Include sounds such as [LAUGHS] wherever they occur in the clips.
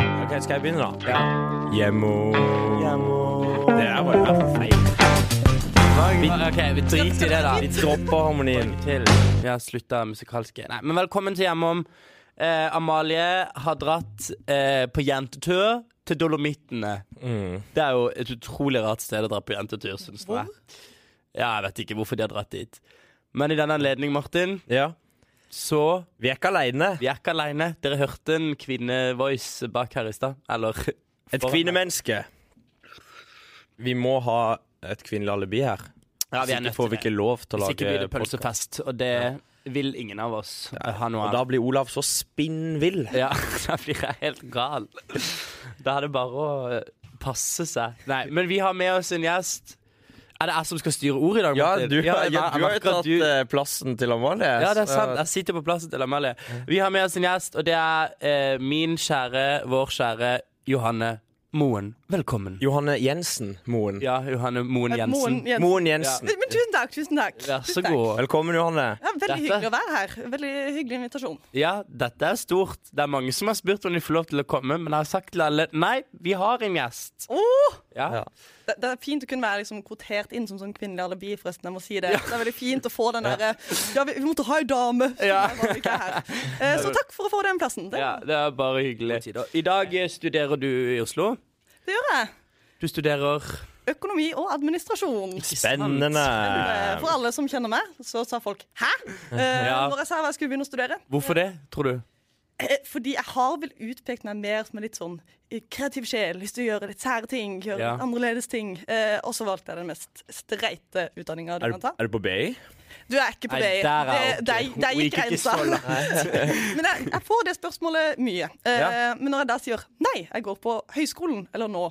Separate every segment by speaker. Speaker 1: Ok, Skal jeg begynne, da? Hjemmo Det er bare det er for feil.
Speaker 2: Ok, vi driter i det, da.
Speaker 1: Vi dropper harmonien.
Speaker 2: til. Vi har slutta musikalske. Nei, men velkommen til Hjemom. Eh, Amalie har dratt eh, på jentetur til Dolomittene.
Speaker 1: Mm.
Speaker 2: Det er jo et utrolig rart sted å dra på jentetur, syns jeg. Ja, jeg vet ikke hvorfor de har dratt dit. Men i denne anledning, Martin,
Speaker 1: Ja.
Speaker 2: så
Speaker 1: Vi er ikke aleine.
Speaker 2: Vi er ikke aleine. Dere hørte en kvinnevoice bak her i stad. Eller [LAUGHS]
Speaker 1: Et kvinnemenneske. Vi må ha et kvinnelig alibi her.
Speaker 2: Ja, vi
Speaker 1: Hvis
Speaker 2: er nødt
Speaker 1: ikke får
Speaker 2: til
Speaker 1: vi
Speaker 2: det.
Speaker 1: ikke lov til å
Speaker 2: Hvis ikke blir
Speaker 1: lage
Speaker 2: det pølsefest, og det vil ingen av oss ha noe
Speaker 1: Og
Speaker 2: av.
Speaker 1: da blir Olav så spinnvill.
Speaker 2: [LAUGHS] Ja, da blir jeg helt gal. Da er det bare å eh, passe seg. Nei, men vi har med oss en gjest. Er det jeg som skal styre ordet i dag,
Speaker 1: Ja,
Speaker 2: Martin?
Speaker 1: du, ja,
Speaker 2: jeg- jeg
Speaker 1: du har jo
Speaker 2: merker at
Speaker 1: tatt eh, plassen til Amalie.
Speaker 2: Ja, det er
Speaker 1: så-
Speaker 2: sant. Jeg sitter på plassen til Amalie. Vi har med oss en gjest, og det er eh, min kjære, vår kjære Johanne Moen. Velkommen.
Speaker 1: Johanne Jensen Moen.
Speaker 2: Ja, Johanne Moen Jensen.
Speaker 3: Moen Jensen.
Speaker 1: Moen Jensen.
Speaker 3: Men tusen takk, tusen takk.
Speaker 2: Vær så
Speaker 3: Tusen takk.
Speaker 2: god.
Speaker 1: Velkommen, Johanne.
Speaker 3: Ja, veldig
Speaker 2: Dette-
Speaker 3: hyggelig å være her. Veldig hyggelig invitasjon.
Speaker 2: Ja, dette er stort. Det er mange som har spurt om de får lov til å komme, men jeg har sagt til alle nei, vi har en gjest.
Speaker 3: Åh!
Speaker 2: Ja.
Speaker 1: Ja.
Speaker 3: Det, det er fint å kunne være liksom, kvotert inn som sånn kvinnelig alibi, forresten. Jeg må si det. Det er veldig fint å få den derre Ja, vi, vi måtte ha ei dame! som
Speaker 2: Ja.
Speaker 3: er bare ikke er her. Eh, Så takk for å få den plassen. Det,
Speaker 2: Ja, det er bare hyggelig. I dag eh, studerer du i Oslo.
Speaker 3: det gjør jeg.
Speaker 2: Du studerer
Speaker 3: Økonomi og administrasjon.
Speaker 1: Spennende.
Speaker 3: Eh, For alle som kjenner meg, så sa folk 'hæ?' Eh,
Speaker 2: Ja.
Speaker 3: Når jeg sa hva jeg skulle begynne å studere.
Speaker 2: Hvorfor det, tror du?
Speaker 3: Eh, Fordi jeg har vel utpekt meg mer som en litt sånn eh, kreativ sjel. Lyst til å gjøre litt sære ting, gjøre
Speaker 2: Ja.
Speaker 3: litt annerledes ting. Eh, og så valgte jeg den mest streite utdanninga du
Speaker 1: Er,
Speaker 3: kan ta.
Speaker 1: du- er du på BI?
Speaker 3: Du er ikke på
Speaker 2: Nei,
Speaker 3: BI.
Speaker 2: der er jeg
Speaker 3: Det- Der
Speaker 2: ok.
Speaker 3: der
Speaker 2: Hun
Speaker 3: gikk
Speaker 2: gikk ikke
Speaker 3: grensa.
Speaker 2: så langt.
Speaker 3: [LAUGHS] Men jeg, jeg får det spørsmålet mye. Eh,
Speaker 1: Ja.
Speaker 3: Men når jeg da sier nei, jeg går på høyskolen, eller nå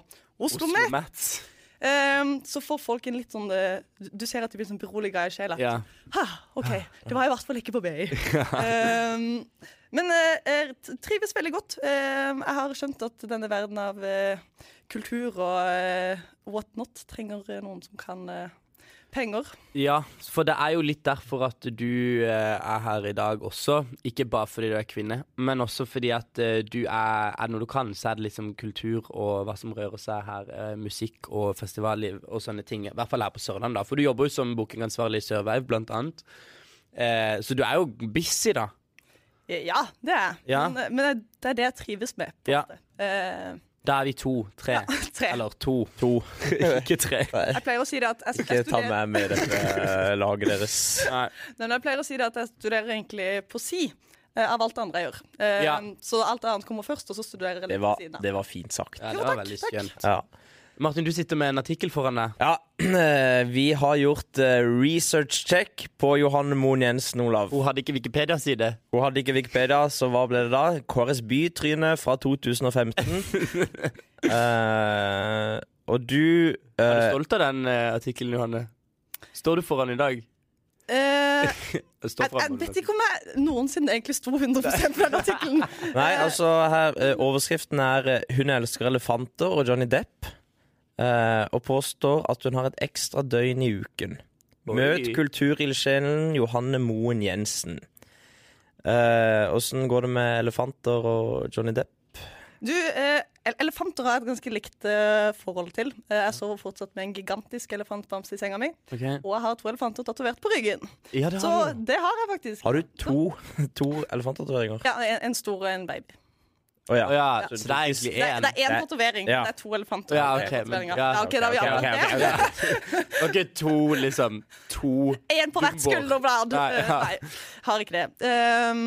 Speaker 2: Oslo
Speaker 3: Oslo Met,
Speaker 2: Met.
Speaker 3: eh, så får folk en litt sånn eh, Du ser at de blir sånn beroliga i sjela.
Speaker 2: Ja.
Speaker 3: Ha, OK. Det var i hvert fall ikke på
Speaker 1: [LAUGHS]
Speaker 3: BI. Ehm, men eh, jeg t- trives veldig godt. Ehm, jeg har skjønt at denne verden av eh, kultur og eh, what not trenger eh, noen som kan eh, penger.
Speaker 2: Ja, for det er jo litt derfor at du eh, er her i dag også. Ikke bare fordi du er kvinne, men også fordi at eh, du er, er noe du kan. Så er det liksom kultur og hva som rører seg her. eh, musikk og festivalliv og sånne ting. I hvert fall her på Sørlandet, da. For du jobber jo som bookingansvarlig i Sørveiv, blant annet. Eh, så du er jo busy, da.
Speaker 3: Eh, Ja, det er jeg.
Speaker 2: Ja.
Speaker 3: Men, eh, men det- det er det jeg trives med.
Speaker 2: Ja.
Speaker 3: Eh,
Speaker 2: Da er vi to. Tre.
Speaker 3: [LAUGHS]
Speaker 2: [LAUGHS]
Speaker 3: tre.
Speaker 2: Eller to. To. [LAUGHS] ikke tre.
Speaker 3: Jeg pleier å si det at jeg,
Speaker 1: Ikke
Speaker 3: jeg,
Speaker 1: ta
Speaker 3: studerer,
Speaker 1: meg med i dette eh, laget deres.
Speaker 2: Nei.
Speaker 3: Nei, men jeg pleier å si det at jeg studerer egentlig på si. eh, Av alt det andre jeg gjør. Eh,
Speaker 2: Ja.
Speaker 3: Så alt annet kommer først, og så studerer jeg
Speaker 1: Det
Speaker 3: litt
Speaker 1: var,
Speaker 3: ved siden av.
Speaker 1: det var fint sagt.
Speaker 2: Ja,
Speaker 3: Jo,
Speaker 2: det var
Speaker 3: takk,
Speaker 2: veldig
Speaker 3: takk.
Speaker 2: skjønt.
Speaker 1: Ja.
Speaker 2: Martin, du sitter med en artikkel foran deg.
Speaker 1: ja. [CLEARS THROAT] Vi har gjort eh, research check på Johanne Moen Jensen, Olav.
Speaker 2: Hun hadde ikke Wikipedia-side.
Speaker 1: Hun hadde ikke Wikipedia, så hva ble det da? KRS Bytryne fra 2015. Eh, og du
Speaker 2: Er du
Speaker 1: eh,
Speaker 2: stolt av den eh, artikkelen, Johanne? Står du foran i dag?
Speaker 3: Eh,
Speaker 2: Stå
Speaker 3: Jeg, jeg vet ikke om jeg noensinne egentlig sto 100
Speaker 1: [LAUGHS]
Speaker 3: på den artikkelen.
Speaker 1: Nei, altså her, eh, overskriften er eh, 'Hun elsker elefanter' og Johnny Depp. eh, og påstår at hun har et ekstra døgn i uken.
Speaker 2: Oi.
Speaker 1: Møt kulturildsjelen Johanne Moen Jensen. Åssen går det med elefanter og Johnny Depp?
Speaker 3: Du, eh, el- elefanter har jeg et ganske likt eh, forhold til. Eh, jeg sover fortsatt med en gigantisk elefantbamse i senga mi,
Speaker 2: Ok.
Speaker 3: og jeg har to elefanter tatovert på ryggen.
Speaker 2: Ja, det
Speaker 3: Så
Speaker 2: har du.
Speaker 3: det har jeg faktisk.
Speaker 1: Har du to, [LAUGHS] to elefanttatoveringer?
Speaker 3: Ja, en, en stor og en baby.
Speaker 1: Å
Speaker 2: Å ja,
Speaker 3: Ja.
Speaker 2: så det er egentlig
Speaker 3: Det, er-
Speaker 2: én.
Speaker 3: det er én
Speaker 1: Det-
Speaker 3: tatovering.
Speaker 1: ja.
Speaker 3: Det er to elefanter.
Speaker 2: Ja,
Speaker 3: og
Speaker 2: ok,
Speaker 3: to
Speaker 2: men-
Speaker 3: tatoveringer.
Speaker 2: ja,
Speaker 3: ja, ok, da har vi
Speaker 1: ok,
Speaker 3: avklart
Speaker 1: ok,
Speaker 3: det.
Speaker 2: Ok, to, liksom. To.
Speaker 3: Én på hvert
Speaker 2: Dumbo.
Speaker 3: skulderblad.
Speaker 2: Nei,
Speaker 3: Eh,
Speaker 2: ja.
Speaker 3: Nei, har ikke det. Ehm,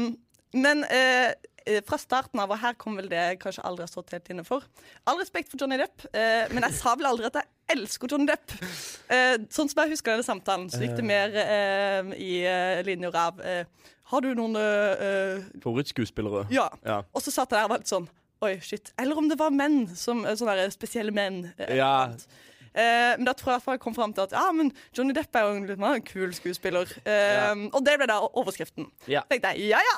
Speaker 3: men eh, eh, fra starten av, og her kom vel det jeg kanskje aldri har stått helt inne for All respekt for Johnny Depp, eh, men jeg sa vel aldri at jeg elsker Johnny Depp. Eh, sånn som jeg husker denne samtalen, så gikk det mer eh, i eh, linjer av eh, Har du noen eh, eh,
Speaker 2: Favorittskuespillere.
Speaker 3: Ja.
Speaker 2: Ja.
Speaker 3: Og så satt jeg der og var litt sånn Oi, shit. Eller om det var menn. Som, eh, sånne der spesielle menn. eh,
Speaker 2: Ja.
Speaker 3: Eh, men da tror jeg i hvert fall jeg kom fram til at ja, men Johnny Depp er jo en litt mer kul skuespiller. Eh, Og det ble da overskriften.
Speaker 2: Ja.
Speaker 3: Tenkte jeg, ja, ja.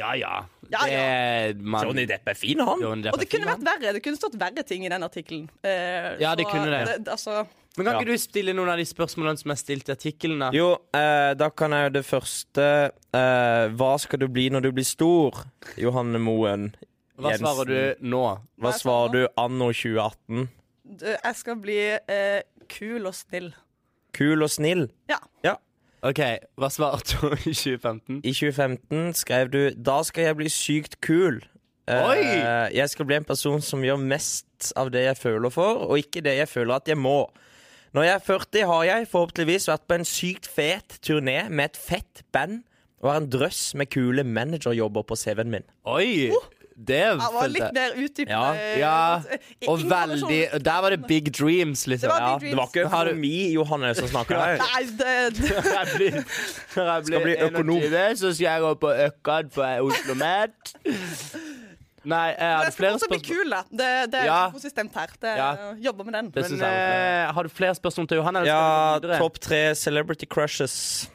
Speaker 2: Ja, ja.
Speaker 3: [LAUGHS] Ja,
Speaker 2: Det, man,
Speaker 1: Johnny Depp er fin, han!
Speaker 2: Johnny Depp
Speaker 3: Og det
Speaker 2: er fin,
Speaker 3: kunne
Speaker 2: han.
Speaker 3: vært verre. Det kunne stått verre ting i den artikkelen. Eh,
Speaker 2: Ja, det
Speaker 3: så
Speaker 2: kunne det.
Speaker 3: altså,
Speaker 2: Men kan ikke du stille noen av de spørsmålene som er stilt i artikkelen? da?
Speaker 1: Jo, eh, da kan jeg jo det første eh, Hva skal du bli når du blir stor, Johanne Moen
Speaker 2: Hva
Speaker 1: Jensen.
Speaker 2: svarer du nå?
Speaker 1: Hva svarer du anno 2018?
Speaker 3: Du, Jeg skal bli eh, kul og snill.
Speaker 1: Kul og snill.
Speaker 3: Ja.
Speaker 2: OK, hva svarte hun i 2015?
Speaker 1: I 2015 skrev du 'Da skal jeg bli sykt kul'. Eh,
Speaker 2: Oi!
Speaker 1: jeg skal bli en person som gjør mest av det jeg føler for, og ikke det jeg føler at jeg må. Når jeg er 40, har jeg forhåpentligvis vært på en sykt fet turné med et fett band og har en drøss med kule managerjobber på CV-en min.
Speaker 2: Oi! Det
Speaker 3: Jeg Uh! var litt
Speaker 2: følte jeg.
Speaker 3: mer
Speaker 1: Ja,
Speaker 3: utdypende.
Speaker 2: Ja,
Speaker 3: eh, I-
Speaker 2: og
Speaker 3: informasjon-
Speaker 2: veldig Der var det big dreams, liksom.
Speaker 3: Det var
Speaker 1: Ja,
Speaker 3: big
Speaker 1: det var ikke
Speaker 2: dreams. Har du-
Speaker 1: økonomi, Johannes, som snakka her.
Speaker 3: Nei, det,
Speaker 2: [LAUGHS]
Speaker 3: det,
Speaker 2: Når jeg blir, når jeg blir
Speaker 1: bli økonom.
Speaker 2: 21, så skal jeg gå på Økkan på Oslo Met. Nei, jeg
Speaker 3: jeg
Speaker 2: hadde
Speaker 3: skal
Speaker 2: flere
Speaker 3: også bli
Speaker 2: spørsmål.
Speaker 3: kul, da. Det, det er
Speaker 2: Ja.
Speaker 3: konsistent her. Det,
Speaker 2: Ja.
Speaker 3: Jobber med den.
Speaker 2: Men
Speaker 1: synes jeg var-
Speaker 2: eh, har du flere spørsmål til Johanne? eller
Speaker 1: Ja,
Speaker 2: skal vi gå videre?
Speaker 1: topp tre celebrity crushes.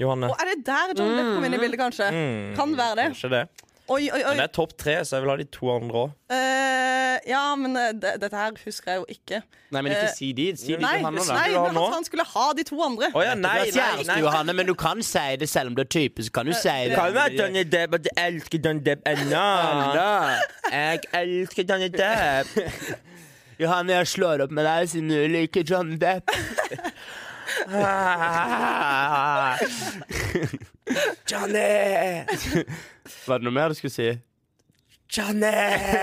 Speaker 1: Johanne.
Speaker 3: Og er det der John Depp kom inn i bildet, kanskje?
Speaker 1: Mm.
Speaker 3: Kan være det.
Speaker 1: Kanskje det.
Speaker 3: Oi, oi, oi.
Speaker 1: Men det er topp tre, så jeg vil ha de to andre òg.
Speaker 3: Eh, ja, men eh, det, dette her husker jeg jo ikke.
Speaker 2: Nei, men
Speaker 3: Eh,
Speaker 2: ikke si de. Si de
Speaker 3: Nei,
Speaker 2: til Johanne, da.
Speaker 3: nei,
Speaker 1: Skal du ha
Speaker 3: men han
Speaker 1: nå?
Speaker 3: sa han skulle ha de to andre.
Speaker 1: Å ja, nei,
Speaker 2: Du er
Speaker 1: nei,
Speaker 2: kjæreste,
Speaker 1: nei.
Speaker 2: Johanne, men du kan si det selv om du er type. Så kan
Speaker 3: Eh,
Speaker 2: du si det.
Speaker 1: Kan være Johnny Depp at jeg elsker Johnny Depp ennå. Jeg elsker Johnny Depp.
Speaker 2: Johanne, jeg slår opp med deg siden du liker John Depp.
Speaker 1: [LAUGHS] Johnny!
Speaker 2: Var det noe mer du skulle si?
Speaker 1: Johnny!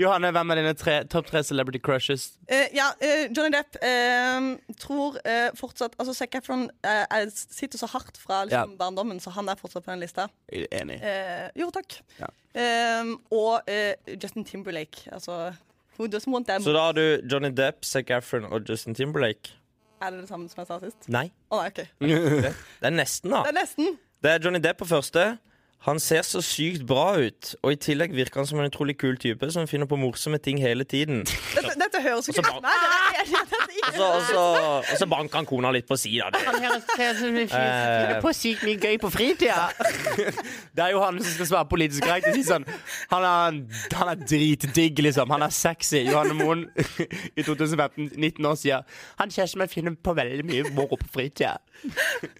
Speaker 2: Johanne, hvem er dine tre, topp tre celebrity crushes?
Speaker 3: Eh, ja, eh, Johnny Depp eh, tror eh, fortsatt Altså, Zac Efron eh, er- sitter så hardt fra liksom,
Speaker 2: Ja.
Speaker 3: barndommen, så han er fortsatt på den lista.
Speaker 2: Enig.
Speaker 3: Eh, jo, takk.
Speaker 2: Ja.
Speaker 3: Eh, og eh, Justin Timberlake. Altså Who doesn't want them?
Speaker 1: Så da har du Johnny Depp, Zac Efron og Justin Timberlake?
Speaker 3: Er det det samme som jeg sa sist?
Speaker 1: Nei.
Speaker 3: Å nei, OK.
Speaker 2: [LAUGHS]
Speaker 1: Det er nesten,
Speaker 3: Det
Speaker 1: da.
Speaker 3: er nesten.
Speaker 1: Det er Johnny Depp på første. Han ser så sykt bra ut, og i tillegg virker han som en utrolig kul type som finner på morsomme ting hele tiden.
Speaker 3: Dette, dette høres jo
Speaker 1: Og så
Speaker 3: ikke
Speaker 1: bra.
Speaker 3: Nei, det er, det er ikke-
Speaker 1: [LAUGHS] Så, og, så, og så banker han kona litt på sida.
Speaker 2: Han høres ut som en fyr
Speaker 1: som finner
Speaker 2: på sykt mye gøy på fritida. Eh. [LAUGHS] Det er jo han som skal svare politisk korrekt. og si Sånn. Han, er, han er dritdigg, liksom. Han er sexy. Johanne Moen [LAUGHS] i 2015, 19 år, sier han kjæresten min finner på veldig mye moro på fritida.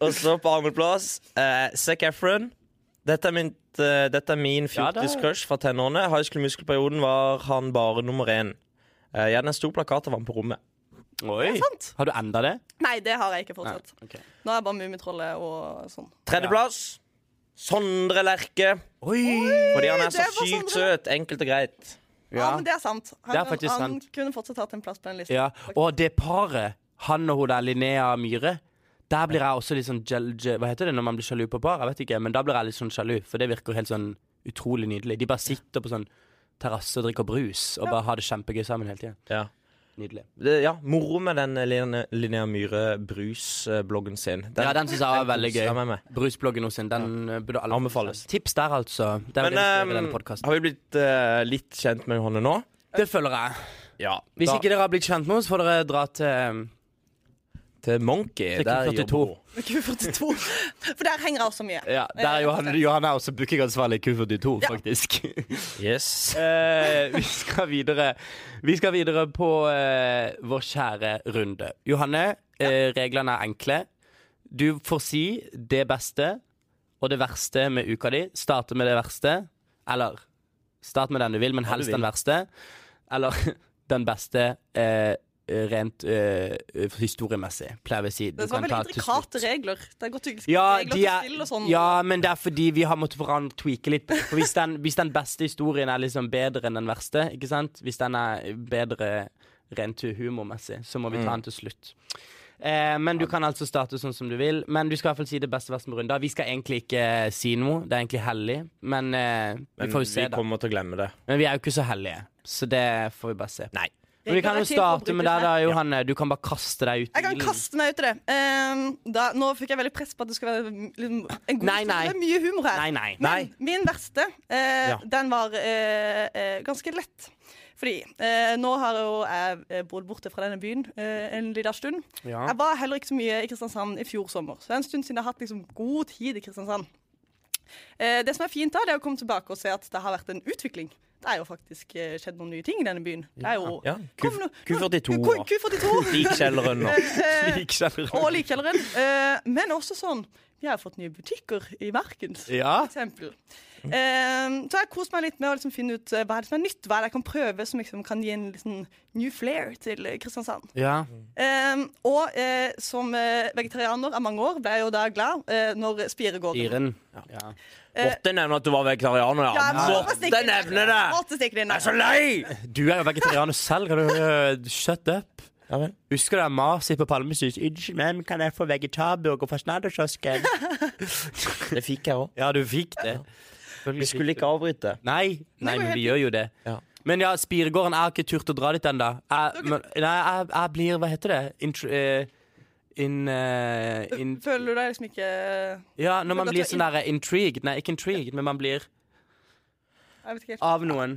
Speaker 1: Og så på andreplass eh, Zac Efron. Dette er min, eh, dette er min
Speaker 2: Ja, det er-
Speaker 1: fjortis-crush fra tenårene. High School Musical-perioden var han bare nummer én. Eh, jeg hadde en stor plakat av ham på rommet.
Speaker 2: Oi.
Speaker 3: sant.
Speaker 2: Har du enda det?
Speaker 3: Nei, det har jeg ikke fortsatt.
Speaker 2: Ok.
Speaker 3: Nå er jeg bare Mummitrollet og sånn.
Speaker 1: Tredjeplass Sondre Lerche.
Speaker 2: Oi.
Speaker 1: Fordi han er
Speaker 3: det
Speaker 1: så
Speaker 3: var
Speaker 1: sykt
Speaker 3: Sondre.
Speaker 1: søt. Enkelt og greit.
Speaker 3: Ja, men det er sant. Han,
Speaker 2: Det er faktisk
Speaker 3: han
Speaker 2: sant.
Speaker 3: kunne fortsatt hatt en plass på den lista.
Speaker 2: Ja, og det paret, han og hun der Linnea Myhre Der blir jeg også litt sånn gel, gel, Hva heter det når man blir sjalu på par? Jeg vet ikke, men da blir jeg litt sånn sjalu, for det virker helt sånn utrolig nydelig. De bare sitter på sånn terrasse og drikker brus og bare har det kjempegøy sammen hele tida.
Speaker 1: Ja.
Speaker 2: Nydelig.
Speaker 1: Det, ja, Moro med den eh, Linnea- Linnea Myhre-brus-bloggen sin. Den
Speaker 2: ja, den syns jeg var veldig
Speaker 1: koser jeg
Speaker 2: gøy.
Speaker 1: meg med.
Speaker 2: Brusbloggen hos sin, den eh, burde alle
Speaker 1: Anbefales.
Speaker 2: Tips der, altså. Der
Speaker 1: Men
Speaker 2: vil jeg skrive
Speaker 1: eh,
Speaker 2: denne podcasten.
Speaker 1: har vi blitt eh, litt kjent med Johanne nå?
Speaker 2: Det føler jeg.
Speaker 1: Ja.
Speaker 2: Hvis
Speaker 1: da,
Speaker 2: ikke dere har blitt kjent med oss, får dere dra til ehm,
Speaker 1: Til Monkey.
Speaker 2: Trikken
Speaker 1: Der
Speaker 2: 42.
Speaker 1: jobber hun.
Speaker 3: Q42. [LAUGHS] For der henger jeg også mye.
Speaker 2: Ja, der er Johan, Johan er også bookingansvarlig i Q42, faktisk.
Speaker 1: Yes.
Speaker 2: Eh, vi skal videre Vi skal videre på eh, vår kjære runde. Johanne, eh, reglene er enkle. Du får si det beste og det verste med uka di. Starte med det verste. Eller start med den du vil, men helst
Speaker 1: vil.
Speaker 2: den verste. Eller [LAUGHS] den beste eh, rent eh, historiemessig, pleier vi å si. Du
Speaker 3: Det
Speaker 2: kan
Speaker 3: var veldig
Speaker 2: ta til slutt.
Speaker 3: intrikate regler. Det er godt du ikke skal
Speaker 2: Ja,
Speaker 3: regler
Speaker 2: de
Speaker 3: for
Speaker 2: er,
Speaker 3: spill og sånn.
Speaker 2: ja, men det er fordi vi har måttet forandre tweake litt. For hvis den, hvis den beste historien er liksom bedre enn den verste, ikke sant? hvis den er bedre rent humormessig, så må vi
Speaker 1: Mm.
Speaker 2: ta den til slutt. Eh, men du kan altså starte sånn som du vil. Men du skal i hvert fall si det beste verste med runder. Vi skal egentlig ikke eh, si noe, det er egentlig hellig, men eh, vi
Speaker 1: Men
Speaker 2: får jo se,
Speaker 1: vi
Speaker 2: da.
Speaker 1: kommer til å glemme det.
Speaker 2: Men vi er jo ikke så hellige, så det får vi bare se. på.
Speaker 1: Nei.
Speaker 2: Men vi kan jo
Speaker 3: Regler er til for å
Speaker 2: starte med
Speaker 3: bruke
Speaker 2: deg, da, Johanne. Du kan bare kaste deg ut. i
Speaker 3: Jeg kan
Speaker 2: ilden.
Speaker 3: kaste meg ut i det. Ehm, da, nå fikk jeg veldig press på at det skulle være liksom, en god
Speaker 2: Nei,
Speaker 3: historie.
Speaker 2: nei.
Speaker 3: Det er mye humor her.
Speaker 2: Nei, nei.
Speaker 1: [LAUGHS] Nei.
Speaker 3: Min verste, eh,
Speaker 1: Ja.
Speaker 3: den var eh, eh, ganske lett. Fordi eh, nå har jo jeg eh, bodd borte fra denne byen eh, en liten stund.
Speaker 2: Ja.
Speaker 3: Jeg var heller ikke så mye i Kristiansand i fjor sommer, så det er en stund siden jeg har hatt liksom, god tid i Kristiansand. Eh, det som er fint da, det er å komme tilbake og se at det har vært en utvikling. det er jo faktisk eh, skjedd noen nye ting i denne byen. Det er jo
Speaker 1: Ja, Q,
Speaker 3: Kom nå-
Speaker 1: Q42
Speaker 3: Q-
Speaker 1: og
Speaker 3: Q42.
Speaker 1: likkjelleren
Speaker 3: [LAUGHS]
Speaker 1: og
Speaker 3: Eh, eh,
Speaker 1: [LAUGHS]
Speaker 2: Likkjelleren.
Speaker 3: og likkjelleren. Eh, men også sånn Vi har fått nye butikker i Verkens.
Speaker 2: Ja.
Speaker 3: for eksempel. Ehm, så jeg koser meg litt med å liksom finne ut eh, hva er det som er nytt, hva er det jeg kan prøve som liksom kan gi en liten new flair til eh, Kristiansand.
Speaker 2: ja.
Speaker 3: Ehm, og eh, som eh, vegetarianer av mange år ble jeg jo da glad eh, når spiret går.
Speaker 2: Iren. Ja.
Speaker 1: Måtte nevne at du var vegetarianer, ja.
Speaker 3: jeg måtte stikke
Speaker 1: Måtte
Speaker 3: inn.
Speaker 1: nevne det! Altså-
Speaker 3: Måtte stikke det inn.
Speaker 1: Jeg er så lei!
Speaker 2: Du er jo vegetarianer selv. Kan du øh, shut up?
Speaker 1: Ja vel.
Speaker 2: Husker du maset på Palmesus? Unnskyld, men kan jeg få vegetarburger fra snadderkiosken?
Speaker 1: Det fikk jeg òg.
Speaker 2: Ja, du fikk det.
Speaker 1: Vi skulle ikke avbryte.
Speaker 2: Nei, nei
Speaker 3: går
Speaker 2: men
Speaker 3: helt
Speaker 2: vi gjør jo det.
Speaker 1: Ja.
Speaker 2: Men ja, Spiregården, jeg har ikke turt å dra dit ennå. Jeg, men- nei, jeg, jeg blir Hva heter det? Intro... eh, in, eh, in,
Speaker 3: Føler du deg liksom ikke Jeg
Speaker 2: ja, når man
Speaker 3: at
Speaker 2: blir
Speaker 3: du er
Speaker 2: sånn derre intrigued. Nei, ikke intrigued, men man blir
Speaker 3: vet ikke helt.
Speaker 2: av noen.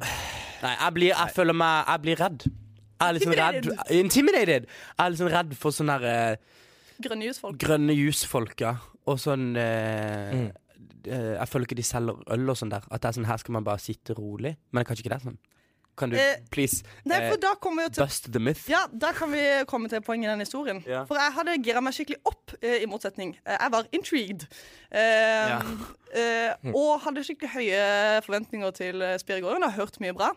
Speaker 2: Nei, jeg blir Jeg føler meg Jeg blir redd. Jeg er litt sånn redd
Speaker 3: Intimidated.
Speaker 2: Intimidated! Jeg er litt sånn redd for sånne derre
Speaker 3: Grønne jusfolk.
Speaker 2: grønne jusfolk, ja. Og sånn eh, eh, Jeg føler ikke de selger øl og sånn der. At det er sånn her skal man bare sitte rolig. Men kanskje ikke det er sånn. Kan du
Speaker 3: Eh,
Speaker 2: please
Speaker 3: Nei,
Speaker 2: eh,
Speaker 3: for da kommer vi jo til
Speaker 2: bust the myth?
Speaker 3: Ja, da kan vi komme til poenget i den historien.
Speaker 2: Ja.
Speaker 3: For jeg hadde gira meg skikkelig opp, eh, i motsetning. Eh, jeg var intrigued. Eh, eh, og hadde skikkelig høye forventninger til eh, Spiregården og hørt mye bra.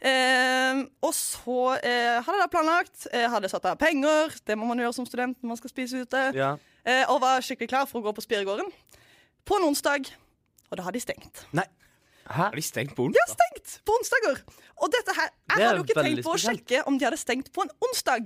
Speaker 3: Eh, og så eh, hadde jeg da planlagt, eh, hadde satt av penger, det må man gjøre som student når man skal spise ute,
Speaker 2: Ja.
Speaker 3: eh, og var skikkelig klar for å gå på Spiregården på en onsdag. Og da har de stengt.
Speaker 2: Nei. Hæ?
Speaker 1: Har de stengt på
Speaker 3: De har stengt på onsdager! Og dette her, jeg
Speaker 2: Det er
Speaker 3: hadde jo ikke
Speaker 2: veldig
Speaker 3: tenkt på å
Speaker 2: spesielt.
Speaker 3: sjekke om de hadde stengt på en onsdag.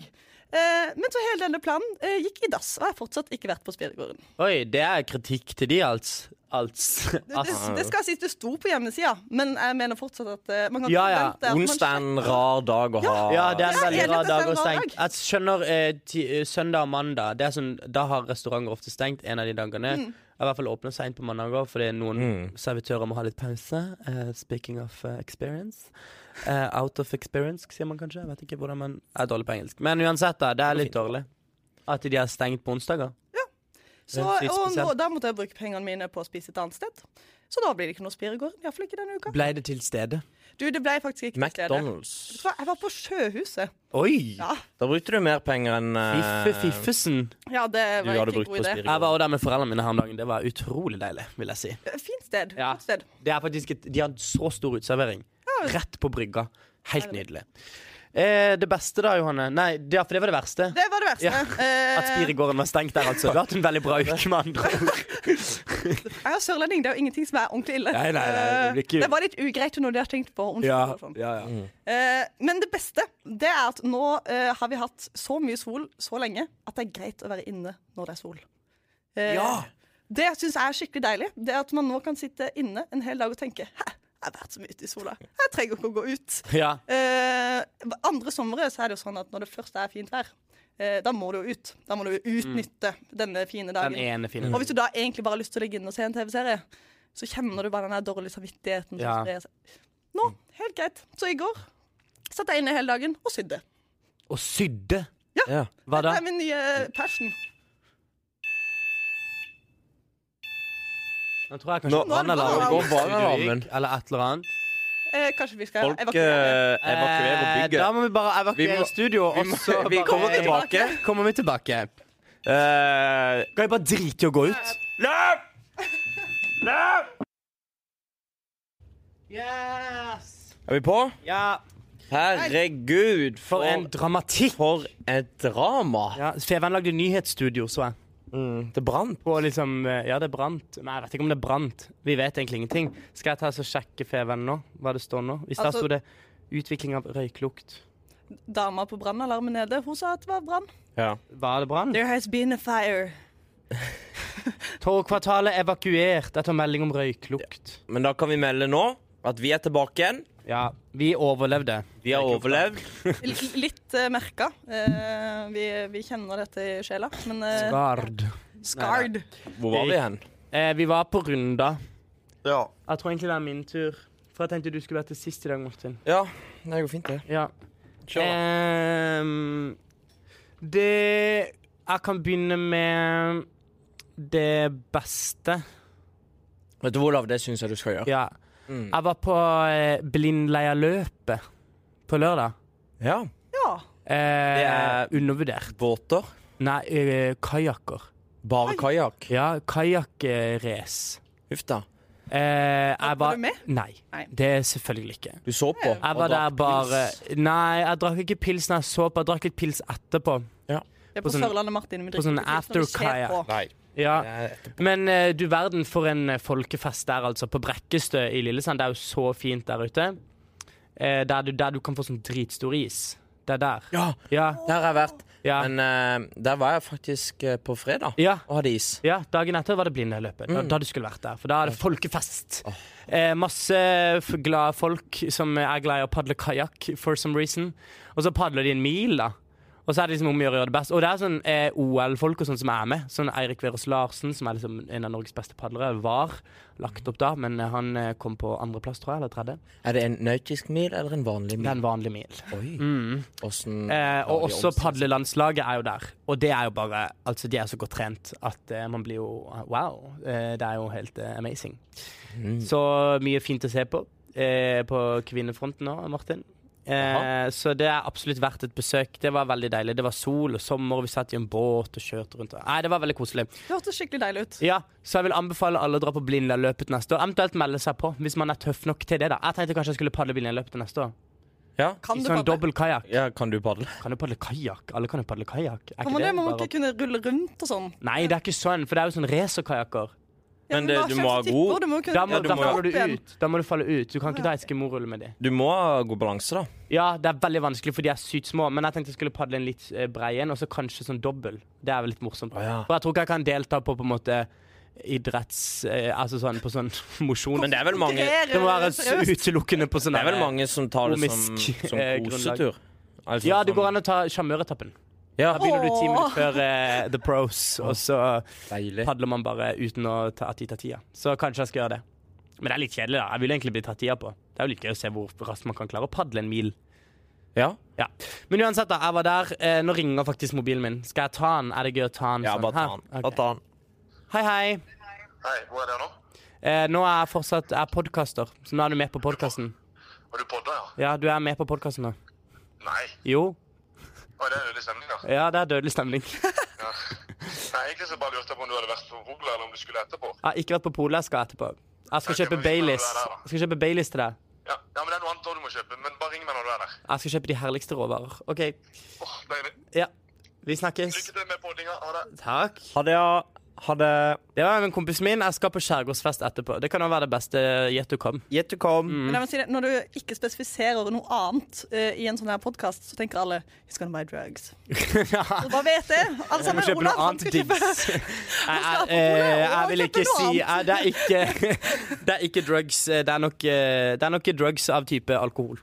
Speaker 3: Eh, men så hele denne planen eh, gikk i dass, og jeg har fortsatt ikke vært på Spiregården.
Speaker 2: Oi, det er kritikk til de, altså. alts. Alts.
Speaker 3: Det, det, det skal sies, det sto på hjemmesida, men jeg mener fortsatt at eh, man kan
Speaker 2: Ja, ja.
Speaker 3: forvente at man
Speaker 1: Onsdag er en
Speaker 3: sjekker.
Speaker 1: rar dag å ha
Speaker 2: Ja, det er en
Speaker 3: Ja,
Speaker 2: veldig
Speaker 3: hele
Speaker 2: rar dag å
Speaker 3: desember
Speaker 2: stenge.
Speaker 3: dag.
Speaker 2: Jeg skjønner eh, ti, eh, søndag og mandag. Det er sånn, da har restauranter ofte stengt en av de dagene.
Speaker 3: Mm.
Speaker 2: Jeg I hvert fall åpner seint på mandager fordi noen servitører må ha litt pause. Eh, speaking of eh, experience. Eh, out of experience, sier man kanskje. Jeg vet ikke hvordan man Jeg er dårlig på engelsk. Men uansett, da. Det er litt dårlig. At de har stengt på onsdager.
Speaker 3: Så,
Speaker 2: Det er litt
Speaker 3: og nå,
Speaker 2: spesielt.
Speaker 3: da måtte jeg bruke pengene mine på å spise et annet sted. Så da blir det ikke noe Spiregården, iallfall ikke denne uka.
Speaker 2: Ble det til stede?
Speaker 3: Du, det ble faktisk ikke til stede.
Speaker 1: McDonald's.
Speaker 3: Vet du hva, Jeg var på Sjøhuset.
Speaker 2: Oi!
Speaker 3: Ja,
Speaker 1: Da brukte du mer penger enn eh,
Speaker 2: Fiffe Fiffesen.
Speaker 3: ja det
Speaker 1: du
Speaker 3: var
Speaker 1: hadde
Speaker 3: ikke en
Speaker 1: brukt
Speaker 3: god
Speaker 1: på
Speaker 3: idé.
Speaker 2: Jeg var
Speaker 1: Spiregården.
Speaker 2: også der med foreldrene mine her om dagen. Det var utrolig deilig, vil jeg si.
Speaker 3: Eh, Fint sted.
Speaker 2: Ja.
Speaker 3: Godt sted.
Speaker 2: Det er faktisk et, De har så stor utservering. Rett på brygga. Helt nydelig. Eh, det beste da, Johanne Nei, det, ja, for det var det verste.
Speaker 3: Det var det verste. Eh,
Speaker 2: At Spiregården var stengt der, altså. Du har hatt en veldig bra uke, med andre ord.
Speaker 3: Jeg er sørlending, det er jo ingenting som er ordentlig ille.
Speaker 2: Nei, nei, nei, det blir ikke-
Speaker 3: Eh, det var litt ugreit når de har tenkt på onsdag. [LAUGHS] i hvert fall. sånn.
Speaker 2: Mm.
Speaker 3: Eh, Men det beste det er at nå eh, har vi hatt så mye sol så lenge at det er greit å være inne når det er sol. Eh,
Speaker 2: Ja.
Speaker 3: Det syns jeg er skikkelig deilig. Det At man nå kan sitte inne en hel dag og tenke Hæ, jeg har vært så mye ute i sola. Jeg trenger ikke å gå ut.
Speaker 2: Ja.
Speaker 3: Eh, andre somre så er det jo sånn at når det først er fint vær, eh, da må du jo ut. Da må du jo utnytte denne fine dagen.
Speaker 2: Den ene fine.
Speaker 3: Og hvis du da egentlig bare har lyst til å ligge inne og se en TV-serie, så kjenner du bare den der dårlige samvittigheten som
Speaker 2: Ja.
Speaker 3: sprer seg. Nå, helt greit. Så i går satt jeg inne hele dagen og sydde.
Speaker 2: Og sydde.
Speaker 1: Ja.
Speaker 2: Hva da?
Speaker 3: Det er min nye passion.
Speaker 2: Nå tror jeg
Speaker 1: Nå-
Speaker 2: kanskje
Speaker 3: Nå
Speaker 2: brannalarmen
Speaker 3: går
Speaker 2: gikk,
Speaker 1: brannalarmen.
Speaker 2: Eller et eller annet.
Speaker 3: Eh, kanskje vi skal
Speaker 1: Folk
Speaker 3: evakuere.
Speaker 1: eh, evakuerer
Speaker 2: Eh,
Speaker 1: bygget.
Speaker 2: Da må vi bare evakuere
Speaker 1: Vi må-
Speaker 2: studio,
Speaker 1: vi
Speaker 2: og
Speaker 1: må-
Speaker 2: så
Speaker 1: vi
Speaker 2: bare-
Speaker 1: kommer tilbake.
Speaker 2: Kommer vi tilbake.
Speaker 1: Eh,
Speaker 2: Kan vi bare drite i å gå ut?
Speaker 1: løp! Løp!
Speaker 2: Yes!
Speaker 1: Er vi på?
Speaker 2: Ja.
Speaker 1: Herregud,
Speaker 2: For en dramatikk.
Speaker 1: for et drama.
Speaker 2: Ja, Feven lagde nyhetsstudio, så jeg.
Speaker 1: Det brant.
Speaker 2: På liksom, eh, ja, det brant. Nei, jeg vet ikke om det brant. Vi vet egentlig ingenting. Skal jeg ta og sjekke Feven nå, hva det står nå? Hvis der
Speaker 3: Altså-
Speaker 2: sto det 'utvikling av røyklukt'.
Speaker 3: Dama på brannalarmen nede, hun sa at det var brann.
Speaker 1: Ja.
Speaker 2: Var det brann?
Speaker 3: There has been a fire.
Speaker 2: Torvkvartalet evakuert etter melding om røyklukt.
Speaker 1: Men da kan vi melde nå at vi er tilbake igjen.
Speaker 2: Ja, vi overlevde.
Speaker 1: Vi har
Speaker 2: Røyklukta.
Speaker 1: overlevd.
Speaker 3: L litt uh, merka. Eh, vi, vi kjenner dette i sjela, men eh,
Speaker 2: Gard.
Speaker 3: scarred.
Speaker 1: Hvor var vi hen?
Speaker 2: Eh, vi var på Runda.
Speaker 1: Ja.
Speaker 2: Jeg tror egentlig det er min tur. For jeg tenkte du skulle vært til sist i dag, Martin.
Speaker 1: ja. Det går fint, det. Eh.
Speaker 2: Ja.
Speaker 1: Kjør, da.
Speaker 2: Ehm, det Jeg kan begynne med det beste.
Speaker 1: Vet du, Olav, det syns jeg du skal gjøre.
Speaker 2: Ja.
Speaker 3: Mm.
Speaker 2: Jeg var på eh, Blindleia-løpet på lørdag.
Speaker 1: Ja.
Speaker 3: Ja.
Speaker 2: Eh,
Speaker 1: er-
Speaker 2: Undervurdert.
Speaker 1: Båter.
Speaker 2: Nei, eh, kajakker.
Speaker 1: Bare kajakk.
Speaker 2: Ja, kajakkrace.
Speaker 1: Huff da.
Speaker 2: Eh,
Speaker 3: Var
Speaker 2: jeg var
Speaker 3: du med?
Speaker 2: Nei.
Speaker 3: Nei.
Speaker 2: Det er selvfølgelig ikke.
Speaker 1: Du så på.
Speaker 2: Jeg var der bare Nei, jeg drakk ikke pils når jeg så på. Jeg drakk litt pils etterpå.
Speaker 3: Det er
Speaker 2: På
Speaker 3: på
Speaker 2: sånn-
Speaker 3: Sørlandet, Martin. Vi
Speaker 2: på
Speaker 3: drikker
Speaker 2: sånn
Speaker 3: ikke pils når det skjer
Speaker 2: afterkajakk.
Speaker 3: på.
Speaker 1: Nei.
Speaker 2: Ja.
Speaker 1: jeg-
Speaker 2: Men eh, du verden for en eh, folkefest der, altså. På Brekkestø i Lillesand. Det er jo så fint der ute. Eh, der, du, der du kan få sånn dritstor is. Det er der.
Speaker 1: Ja,
Speaker 2: Ja.
Speaker 1: der har jeg vært.
Speaker 2: Ja.
Speaker 1: Men eh, der var jeg faktisk eh, på fredag
Speaker 2: ja.
Speaker 1: og hadde is.
Speaker 2: Ja, Dagen etter var det Blindeløpet. Da, da du skulle vært der. For da er det folkefest. Eh, masse f- glade folk som er glad i å padle kajakk for some reason. Og så padler de en mil, da. Og så er det liksom om å gjøre å gjøre det best. Og det er sånn eh, OL-folk og sånn som er med. Sånn Eirik Verås Larsen, som er liksom en av Norges beste padlere, var lagt opp da, men eh, han eh, kom på andreplass, tror jeg, eller tredje.
Speaker 1: Er det en nautisk mil eller en vanlig
Speaker 2: Det
Speaker 1: mil?
Speaker 2: er en vanlig mil.
Speaker 1: Oi. Åssen
Speaker 2: Mm. Eh,
Speaker 1: klarer de
Speaker 2: og
Speaker 1: å
Speaker 2: også
Speaker 1: omstille seg?
Speaker 2: padlelandslaget er jo der. Og det er jo bare Altså, de er så godt trent at eh, man blir jo Wow. Eh, det er jo helt eh, amazing.
Speaker 1: Mm.
Speaker 2: Så mye fint å se på eh, på kvinnefronten nå, Martin. Eh,
Speaker 1: Jaha.
Speaker 2: så det er absolutt verdt et besøk. Det var veldig deilig. Det var sol og sommer, og vi satt i en båt og kjørte rundt. Nei, det var veldig koselig.
Speaker 3: Det hørtes skikkelig deilig ut.
Speaker 2: Ja, Så jeg vil anbefale alle å dra på Blindaløpet neste år. Eventuelt melde seg på, hvis man er tøff nok til det. da Jeg tenkte kanskje jeg skulle padle Blindaløpet neste år.
Speaker 1: ja.
Speaker 3: Kan
Speaker 2: I
Speaker 3: du
Speaker 2: sånn
Speaker 3: padle?
Speaker 2: dobbel kajakk.
Speaker 1: ja, kan du padle?
Speaker 2: Kan du padle kajakk? Alle kan jo padle kajakk. Er
Speaker 3: Kan man det? Må man
Speaker 2: bare-
Speaker 3: ikke kunne rulle rundt og sånn?
Speaker 2: Nei, det er ikke sånn, for det er jo sånn racerkajakker.
Speaker 3: Ja,
Speaker 1: Men det-
Speaker 3: hva
Speaker 1: du
Speaker 3: slags
Speaker 1: må ha
Speaker 3: typer?
Speaker 1: god-
Speaker 3: Du må kunne
Speaker 2: Da, må-
Speaker 1: Ja, du
Speaker 2: da
Speaker 1: må-
Speaker 2: faller du
Speaker 3: opp igjen.
Speaker 2: ut. Da må du falle ut. Du kan ikke ta et skimorrulle med de.
Speaker 1: Du må ha god balanse, da.
Speaker 2: Ja, det er veldig vanskelig, for de er sykt små. Men jeg tenkte jeg skulle padle en litt eh, brei en, og så kanskje sånn dobbel. Det er vel litt morsomt.
Speaker 1: Å, ja.
Speaker 2: For jeg tror ikke jeg kan delta på på en måte idretts... eh, Altså sånn på sånn [LAUGHS] mosjon.
Speaker 1: Men det er vel mange, det
Speaker 3: Konkurrere,
Speaker 2: Det må være
Speaker 3: seriøst.
Speaker 2: s- utelukkende på sånn
Speaker 1: er vel
Speaker 2: der-
Speaker 1: mange som tar det som,
Speaker 2: komisk,
Speaker 1: som
Speaker 2: eh,
Speaker 1: kosetur. Altså,
Speaker 2: Ja, det
Speaker 1: sånn-
Speaker 2: går an å ta sjarmøretappen.
Speaker 1: Ja,
Speaker 2: Da begynner du ti
Speaker 3: Åh.
Speaker 2: minutter før eh, The Pros, og så
Speaker 1: deilig.
Speaker 2: padler man bare uten å ta, at de tar tida. Så kanskje jeg skal gjøre det. Men det er litt kjedelig, da. Jeg vil egentlig bli tatt tida på. Det er jo litt gøy å se hvor raskt man kan klare å padle en mil.
Speaker 1: Ja,
Speaker 2: Ja. Men uansett, da. Jeg var der. Eh, nå ringer faktisk mobilen min. Skal jeg ta den? Er det gøy å ta den?
Speaker 1: ja
Speaker 2: sånn
Speaker 1: bare ta
Speaker 2: her?
Speaker 1: den.
Speaker 2: Ok.
Speaker 1: Bare ta den.
Speaker 2: Hei, hei.
Speaker 4: Hei, hvor er det nå?
Speaker 2: Eh, nå er jeg fortsatt jeg er podkaster, så nå er du med på podkasten.
Speaker 4: Har du podda, ja?
Speaker 2: Ja, du er med på podkasten nå.
Speaker 4: Nei.
Speaker 2: Jo.
Speaker 4: Å, det er dødelig stemning,
Speaker 1: [LAUGHS]
Speaker 4: da.
Speaker 2: Ja, det er dødelig stemning. Jeg
Speaker 4: Ja. Nei, egentlig så bare lurte jeg på om du hadde vært på Polet, eller om du skulle etterpå.
Speaker 2: har ikke vært på polet. Jeg skal etterpå. Jeg skal
Speaker 4: Ok,
Speaker 2: kjøpe
Speaker 4: men vi tar
Speaker 2: Baileys.
Speaker 4: det der, da.
Speaker 2: Jeg skal kjøpe Baileys til deg.
Speaker 4: Ja, ja men det er noe annet også du må kjøpe, men bare ring meg når du er der.
Speaker 2: Jeg skal kjøpe de herligste råvarer. OK.
Speaker 4: Åh, deilig.
Speaker 2: Ja. Vi snakkes.
Speaker 4: Lykke til med poddinga. Ha det.
Speaker 2: Takk.
Speaker 1: Ha det, ja. Ha det.
Speaker 2: Det var en kompis min. Jeg skal på skjærgårdsfest etterpå. Det kan jo være det beste gjett du kom.
Speaker 1: Gjett du kom.
Speaker 2: Mm.
Speaker 3: Men jeg må si det, når du ikke spesifiserer noe annet eh, i en sånn her podkast, så tenker alle He's gonna buy
Speaker 2: [LAUGHS]
Speaker 3: drugs.
Speaker 2: ja.
Speaker 3: Så bare vet det. Alle
Speaker 2: Du må
Speaker 3: sammen.
Speaker 2: kjøpe noe
Speaker 3: Olav, han
Speaker 2: annet
Speaker 3: skal
Speaker 2: diggs.
Speaker 3: kjøpe-
Speaker 2: [LAUGHS] Jeg, jeg,
Speaker 3: skal på
Speaker 2: eh,
Speaker 3: polet, og
Speaker 2: jeg vil
Speaker 3: kjøpe
Speaker 2: ikke
Speaker 3: noe
Speaker 2: si eh,
Speaker 3: annet.
Speaker 2: det, er ikke,
Speaker 3: [LAUGHS]
Speaker 2: det er ikke drugs. Eh, Det er nok, eh, det er nok drugs av type alkohol.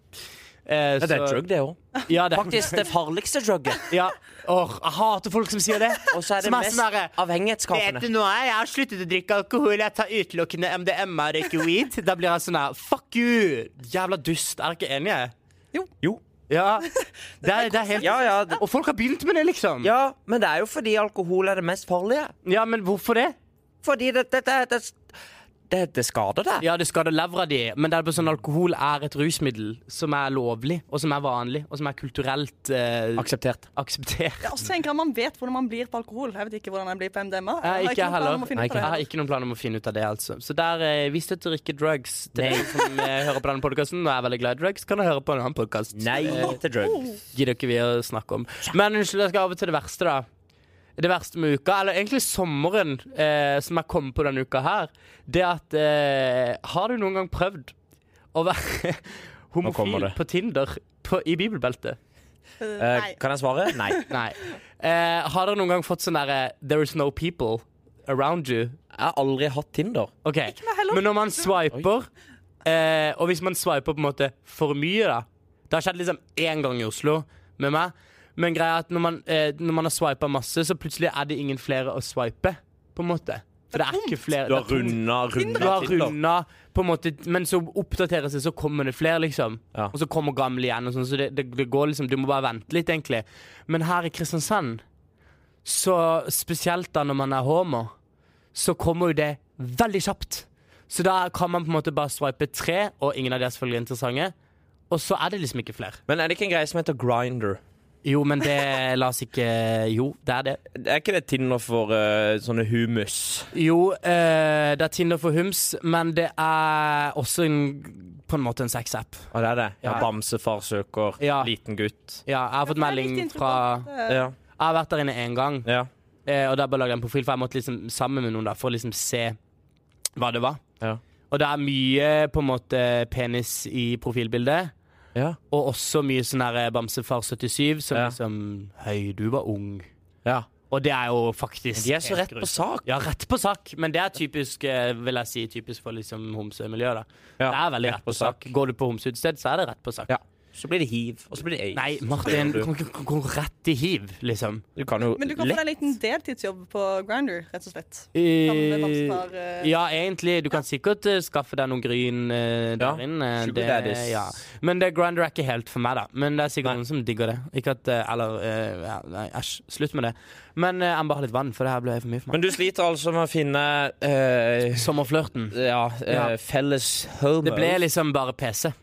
Speaker 2: Eh,
Speaker 1: Ja, det er
Speaker 2: så-
Speaker 1: drug, det òg.
Speaker 2: Ja, det
Speaker 1: [LAUGHS] Faktisk det farligste drugget.
Speaker 2: Ja. Åh, jeg hater folk som sier det.
Speaker 3: [LAUGHS]
Speaker 1: Og så er det
Speaker 2: Som er
Speaker 1: mest
Speaker 2: sånn derre, Vet du
Speaker 1: avhengighetsskapende.
Speaker 2: noe? Jeg har sluttet å drikke alkohol. Jeg tar utelukkende MDMA og røyker weed. Da blir jeg sånn her Fuck you! Jævla dust. Er dere ikke enige?
Speaker 1: Jo.
Speaker 2: Ja.
Speaker 3: [LAUGHS]
Speaker 2: Det er, det er helt
Speaker 1: Ja, ja, det,
Speaker 2: Og folk har begynt med det, liksom. Ja,
Speaker 1: ja, men det er jo fordi alkohol er det mest farlige.
Speaker 2: men hvorfor det?
Speaker 1: Fordi det, det, det, det, det, det skader deg.
Speaker 2: Ja, det skader levra di, men det er bare sånn alkohol er et rusmiddel som er lovlig, og som er vanlig, og som er kulturelt eh,
Speaker 1: Akseptert.
Speaker 2: akseptert.
Speaker 3: Ja, og så tenker jeg Man vet hvordan man blir på alkohol. Jeg vet ikke hvordan jeg blir på MDMA.
Speaker 2: Jeg har ikke jeg
Speaker 3: noen planer
Speaker 2: heller.
Speaker 3: om å finne
Speaker 1: Nei,
Speaker 3: ut
Speaker 2: Jeg
Speaker 3: av
Speaker 2: har
Speaker 3: det.
Speaker 2: ikke noen plan om å finne ut av det, altså. Så der, eh, vi støtter ikke drugs til
Speaker 1: Nei.
Speaker 2: deg som eh, hører på denne podkasten. Og er veldig glad i drugs, kan du høre på en annen podkast.
Speaker 1: Nei til
Speaker 3: Oh,
Speaker 1: drugs.
Speaker 2: Gidder ikke vi å snakke om. Men unnskyld, jeg skal over til det verste, da. Det verste med uka, eller egentlig sommeren eh, som jeg kom på denne uka her, det at eh, Har du noen gang prøvd å være [LAUGHS]
Speaker 1: kommer
Speaker 2: homofil
Speaker 1: det.
Speaker 2: på Tinder på, i bibelbeltet?
Speaker 3: Eh,
Speaker 1: Eh,
Speaker 3: Nei.
Speaker 1: kan jeg svare? Nei.
Speaker 2: Nei. Eh, har dere noen gang fått sånn derre There is no people around you?
Speaker 1: Jeg har aldri hatt Tinder.
Speaker 2: OK.
Speaker 3: meg heller.
Speaker 2: Men når man swiper, eh, og hvis man swiper på en måte for mye, da Det har skjedd liksom én gang i Oslo med meg. Men greia er at når man, eh, når man har swipa masse, så plutselig er det ingen flere å swipe. På en måte. For det er ikke flere. det er tomt. Du har runda, på en måte, men så oppdateres det, så kommer det flere, liksom.
Speaker 1: Ja.
Speaker 2: Og så kommer gamle igjen, og sånn, så det, det, det går liksom Du må bare vente litt, egentlig. Men her i Kristiansand, så spesielt da når man er homo, så kommer jo det veldig kjapt. Så da kan man på en måte bare swipe tre, og ingen av de er selvfølgelig interessante. Og så er det liksom ikke flere.
Speaker 1: Men er det ikke en greie som heter Grinder?
Speaker 2: Jo, men det la oss ikke Jo, det er det.
Speaker 1: Er ikke det Tinder for eh, sånne humus?
Speaker 2: Jo, eh, det er Tinder for hums, men det er også en, på en måte en sexapp.
Speaker 1: Å, det er det? Ja,
Speaker 2: Ja.
Speaker 1: Bamsefar søker
Speaker 2: Ja.
Speaker 1: liten gutt.
Speaker 2: Ja, jeg har fått melding fra
Speaker 3: eh,
Speaker 2: eh,
Speaker 1: Ja,
Speaker 2: Jeg har vært der inne én gang,
Speaker 1: ja.
Speaker 2: eh, og der bare lagde jeg en profil, for jeg måtte liksom sammen med noen da, for å liksom se hva det var.
Speaker 1: Ja.
Speaker 2: Og det er mye på en måte penis i profilbildet.
Speaker 1: Ja.
Speaker 2: Og også mye sånn her Bamsefar 77, som
Speaker 1: Ja.
Speaker 2: liksom Hei, du var ung.
Speaker 1: ja.
Speaker 2: Og det er jo faktisk
Speaker 1: De er så
Speaker 2: helt
Speaker 1: rett på
Speaker 2: grusomt.
Speaker 1: sak.
Speaker 2: Ja, rett på sak. Men det er typisk eh, vil jeg si, typisk for liksom homsemiljøet. da.
Speaker 1: Ja,
Speaker 2: Det er veldig rett på sak. Går du på homseutsted, så er det rett på sak.
Speaker 1: Ja. Så blir det hiv, og så blir det aids.
Speaker 2: Nei, Martin, du kan ikke gå rett i hiv, liksom.
Speaker 1: Du kan jo
Speaker 3: Men du kan få deg en liten deltidsjobb på Grinder, rett og slett. med Bamsefar, eh,
Speaker 2: ja, egentlig. Du kan sikkert eh, skaffe deg noen gryn eh, der
Speaker 1: Ja,
Speaker 2: inne.
Speaker 1: sugar
Speaker 2: Det,
Speaker 1: daddies.
Speaker 2: ja. Men det Grinder er ikke helt for meg, da. Men det er sikkert noen som digger det. Ikke at, eh, Eller eh, ja, Nei, æsj. Slutt med det. Men eh, jeg må bare ha litt vann, for det her ble for mye for meg.
Speaker 1: Men du sliter altså med å finne eh,
Speaker 2: Sommerflørten.
Speaker 1: ja, eh,
Speaker 2: Ja.
Speaker 1: felles homo.
Speaker 2: Det ble liksom bare PC.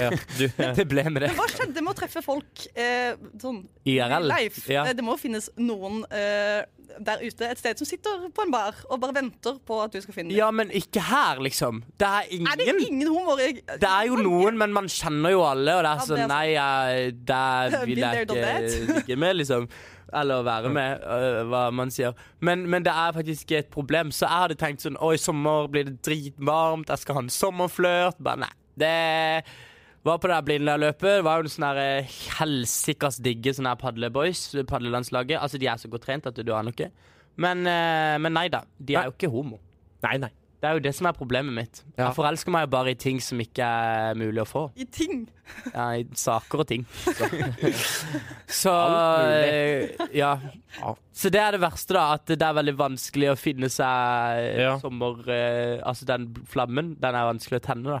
Speaker 1: ja, du,
Speaker 2: [LAUGHS] Det ble med det.
Speaker 1: [LAUGHS]
Speaker 3: Hva skjedde med å treffe folk eh, sånn
Speaker 2: IRL.
Speaker 3: live?
Speaker 2: Ja.
Speaker 3: Eh, Det må finnes noen eh, der ute et sted som sitter på en bar og bare venter på at du skal finne dem.
Speaker 2: ja, men ikke her, liksom. Det er
Speaker 3: Er det
Speaker 2: ingen.
Speaker 3: ingen homoer? jeg-
Speaker 2: Det er jo noen, men man kjenner jo alle, og det er
Speaker 3: Ja, det
Speaker 2: sånn
Speaker 3: er
Speaker 2: Nei, jeg,
Speaker 3: [LAUGHS]
Speaker 2: det vil jeg
Speaker 3: Been there, done
Speaker 2: ikke ligge med, liksom. Eller være med, øh, hva man sier. Men, men det er faktisk et problem, så jeg hadde tenkt sånn Å, i sommer blir det dritvarmt, jeg skal ha en sommerflørt. Bare nei. Det var på det her Blindern-løpet. Det var jo sånn her eh, helsikas digge sånne her padleboys, padlelandslaget. Altså, de er så godt trent at du aner ikke. Men, eh, men nei da. De er jo ikke homo.
Speaker 1: nei, nei.
Speaker 2: Det er jo det som er problemet mitt.
Speaker 1: Ja.
Speaker 2: Jeg forelsker meg jo bare i ting som ikke er mulig å få.
Speaker 3: I ting.
Speaker 2: Ja, I
Speaker 1: [LAUGHS]
Speaker 2: saker og ting. Så
Speaker 1: Alt
Speaker 2: eh, ja. Så det er det verste, da. At det er veldig vanskelig å finne seg
Speaker 1: Ja.
Speaker 2: sommer... eh, altså, den flammen, den er vanskelig å tenne, da.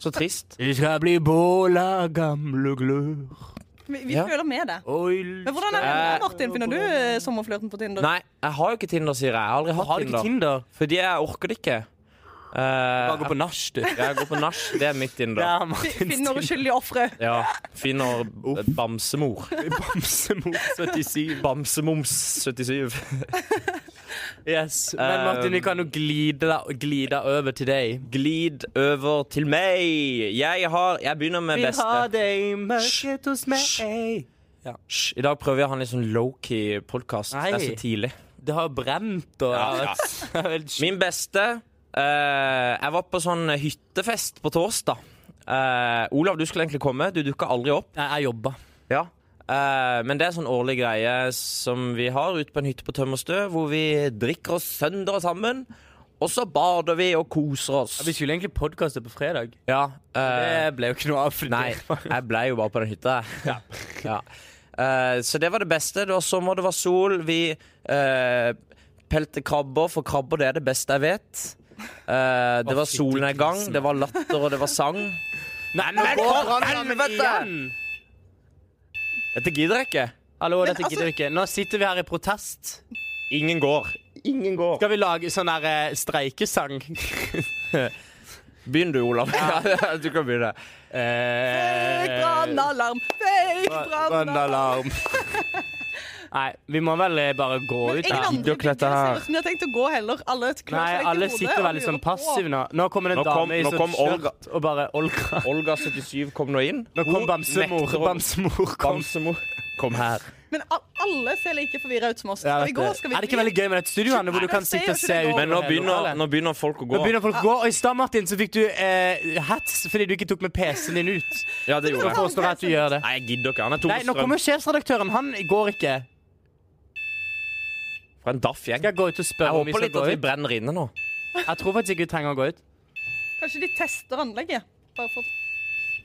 Speaker 1: Så trist.
Speaker 2: Du skal bli båla, gamle glør.
Speaker 3: Vi, vi
Speaker 1: Ja.
Speaker 3: føler med det.
Speaker 2: Oi,
Speaker 3: Men hvordan er det med deg, Martin? Finner du eh, sommerflørten på Tinder?
Speaker 1: Nei, jeg har jo ikke Tinder, sier jeg. Jeg har aldri hatt
Speaker 2: Har du ikke
Speaker 1: Tinder.
Speaker 2: Tinder?
Speaker 1: Fordi jeg orker det ikke. Eh,
Speaker 2: Bare gå på nach, du.
Speaker 1: jeg- jeg går på nach. Det er mitt Tinder.
Speaker 2: Det
Speaker 1: Ja.
Speaker 2: er Martins
Speaker 3: [LAUGHS] Finner
Speaker 2: Tinder.
Speaker 3: uskyldige ofre.
Speaker 2: Eh,
Speaker 1: Finner b- bamsemor.
Speaker 2: [LAUGHS]
Speaker 1: [LAUGHS]
Speaker 2: Bamsemor 77.
Speaker 1: Bamsemoms77.
Speaker 2: Yes, men Martin, vi kan jo glide, deg- glide deg over til deg.
Speaker 1: Glid over til meg. Jeg har Jeg begynner med beste.
Speaker 2: deg i
Speaker 1: mørket
Speaker 2: hos
Speaker 1: meg. Hysj. I dag prøver jeg å ha en litt sånn low-key podkast. Det er
Speaker 2: Nei.
Speaker 1: så tidlig.
Speaker 2: Det har brent og
Speaker 1: Ja,
Speaker 2: [LAUGHS]
Speaker 1: ja. Min beste eh, Jeg var på sånn hyttefest på torsdag. Eh, Olav, du skulle egentlig komme. Du dukka aldri opp.
Speaker 2: Nei, Jeg jobba.
Speaker 1: Ja. Eh, men det er sånn årlig greie som vi har ute på en hytte på Tømmerstø, hvor vi drikker oss sønder sammen. Og så bader vi og koser oss.
Speaker 2: Vi skulle egentlig podkaste på fredag.
Speaker 1: Ja, eh,
Speaker 2: Det ble jo ikke noe av. fordi-
Speaker 1: Nei, jeg ble jo bare på den
Speaker 2: [LAUGHS]
Speaker 1: hytta. jeg. Ja. Eh, så det var det beste. Det var sommer, det var sol. Vi eh, pelte krabber, for krabber det er det beste jeg vet. Eh, det
Speaker 2: Å,
Speaker 1: var
Speaker 2: fytti
Speaker 1: solnedgang,
Speaker 2: grisen.
Speaker 1: det var latter, og det var sang.
Speaker 2: Nei, nå
Speaker 1: Men
Speaker 2: går
Speaker 1: for
Speaker 2: brannalarmen
Speaker 1: helvete!
Speaker 2: igjen!
Speaker 1: Dette gidder jeg ikke.
Speaker 2: Hallo,
Speaker 3: Men
Speaker 2: dette gidder vi ikke. Nå sitter vi her i protest.
Speaker 1: Ingen går. Ingen går.
Speaker 2: Skal vi lage sånn der eh, streikesang?
Speaker 1: Begynn du, Olav. [LAUGHS] Ja, du kan begynne.
Speaker 3: Fake brannalarm! Fake brannalarm!
Speaker 2: Brannalarm. Nei, vi må vel eh, bare gå ut.
Speaker 3: Ingen
Speaker 2: da.
Speaker 3: andre
Speaker 1: gidder å klette
Speaker 3: digger
Speaker 1: her.
Speaker 3: seriøst, men jeg har tenkt å gå heller. Alle klør seg
Speaker 2: Nei,
Speaker 3: litt i
Speaker 2: alle
Speaker 3: hodet
Speaker 2: sitter
Speaker 3: og
Speaker 2: veldig sånn
Speaker 3: lurer på.
Speaker 2: passive nå. Nå kommer det en
Speaker 1: Nå kom-
Speaker 2: dame i
Speaker 1: nå
Speaker 2: sånn
Speaker 1: kom Olga.
Speaker 2: skjørt og bare Olga.
Speaker 1: Olga77 kom nå inn.
Speaker 2: Nå kom
Speaker 1: Hun
Speaker 2: bamsemor.
Speaker 1: nekter å-
Speaker 2: Bamsemor kom.
Speaker 1: Bamsemor. Kom her.
Speaker 3: Men al- alle ser like forvirra ut som oss.
Speaker 2: Jeg
Speaker 3: Skal vi
Speaker 2: vet
Speaker 3: gå?
Speaker 2: det.
Speaker 3: Skal vi
Speaker 2: er det ikke veldig gøy med dette studioet Hanne, hvor du
Speaker 3: Nei,
Speaker 2: kan
Speaker 3: det
Speaker 2: sitte og
Speaker 3: ser
Speaker 2: se
Speaker 3: jo ikke
Speaker 2: ut?
Speaker 3: det
Speaker 1: Men nå
Speaker 2: over
Speaker 1: begynner,
Speaker 2: lokalet?
Speaker 1: nå begynner folk å
Speaker 2: Nå
Speaker 1: gå.
Speaker 2: begynner folk å gå. Og i stad, Martin, så fikk du eh, hats fordi du ikke tok med PC-en din ut.
Speaker 1: Ja, det
Speaker 2: Nå
Speaker 1: gjorde jeg.
Speaker 2: forstår jeg at du gjør det.
Speaker 1: Nei, jeg gidder ikke. Han er tom
Speaker 2: Nei, nå
Speaker 1: strøm
Speaker 2: kommer sjefsredaktøren. Han går ikke.
Speaker 1: fra en
Speaker 2: Skal
Speaker 1: daff-gjeng.
Speaker 2: jeg gå ut og
Speaker 1: Jeg
Speaker 2: spørre om vi
Speaker 1: håper
Speaker 2: skal
Speaker 1: litt
Speaker 2: gå
Speaker 1: at vi
Speaker 2: ut?
Speaker 1: brenner inne nå.
Speaker 2: Jeg tror faktisk ikke vi trenger å gå ut.
Speaker 3: Kanskje de tester anlegget? Bare for...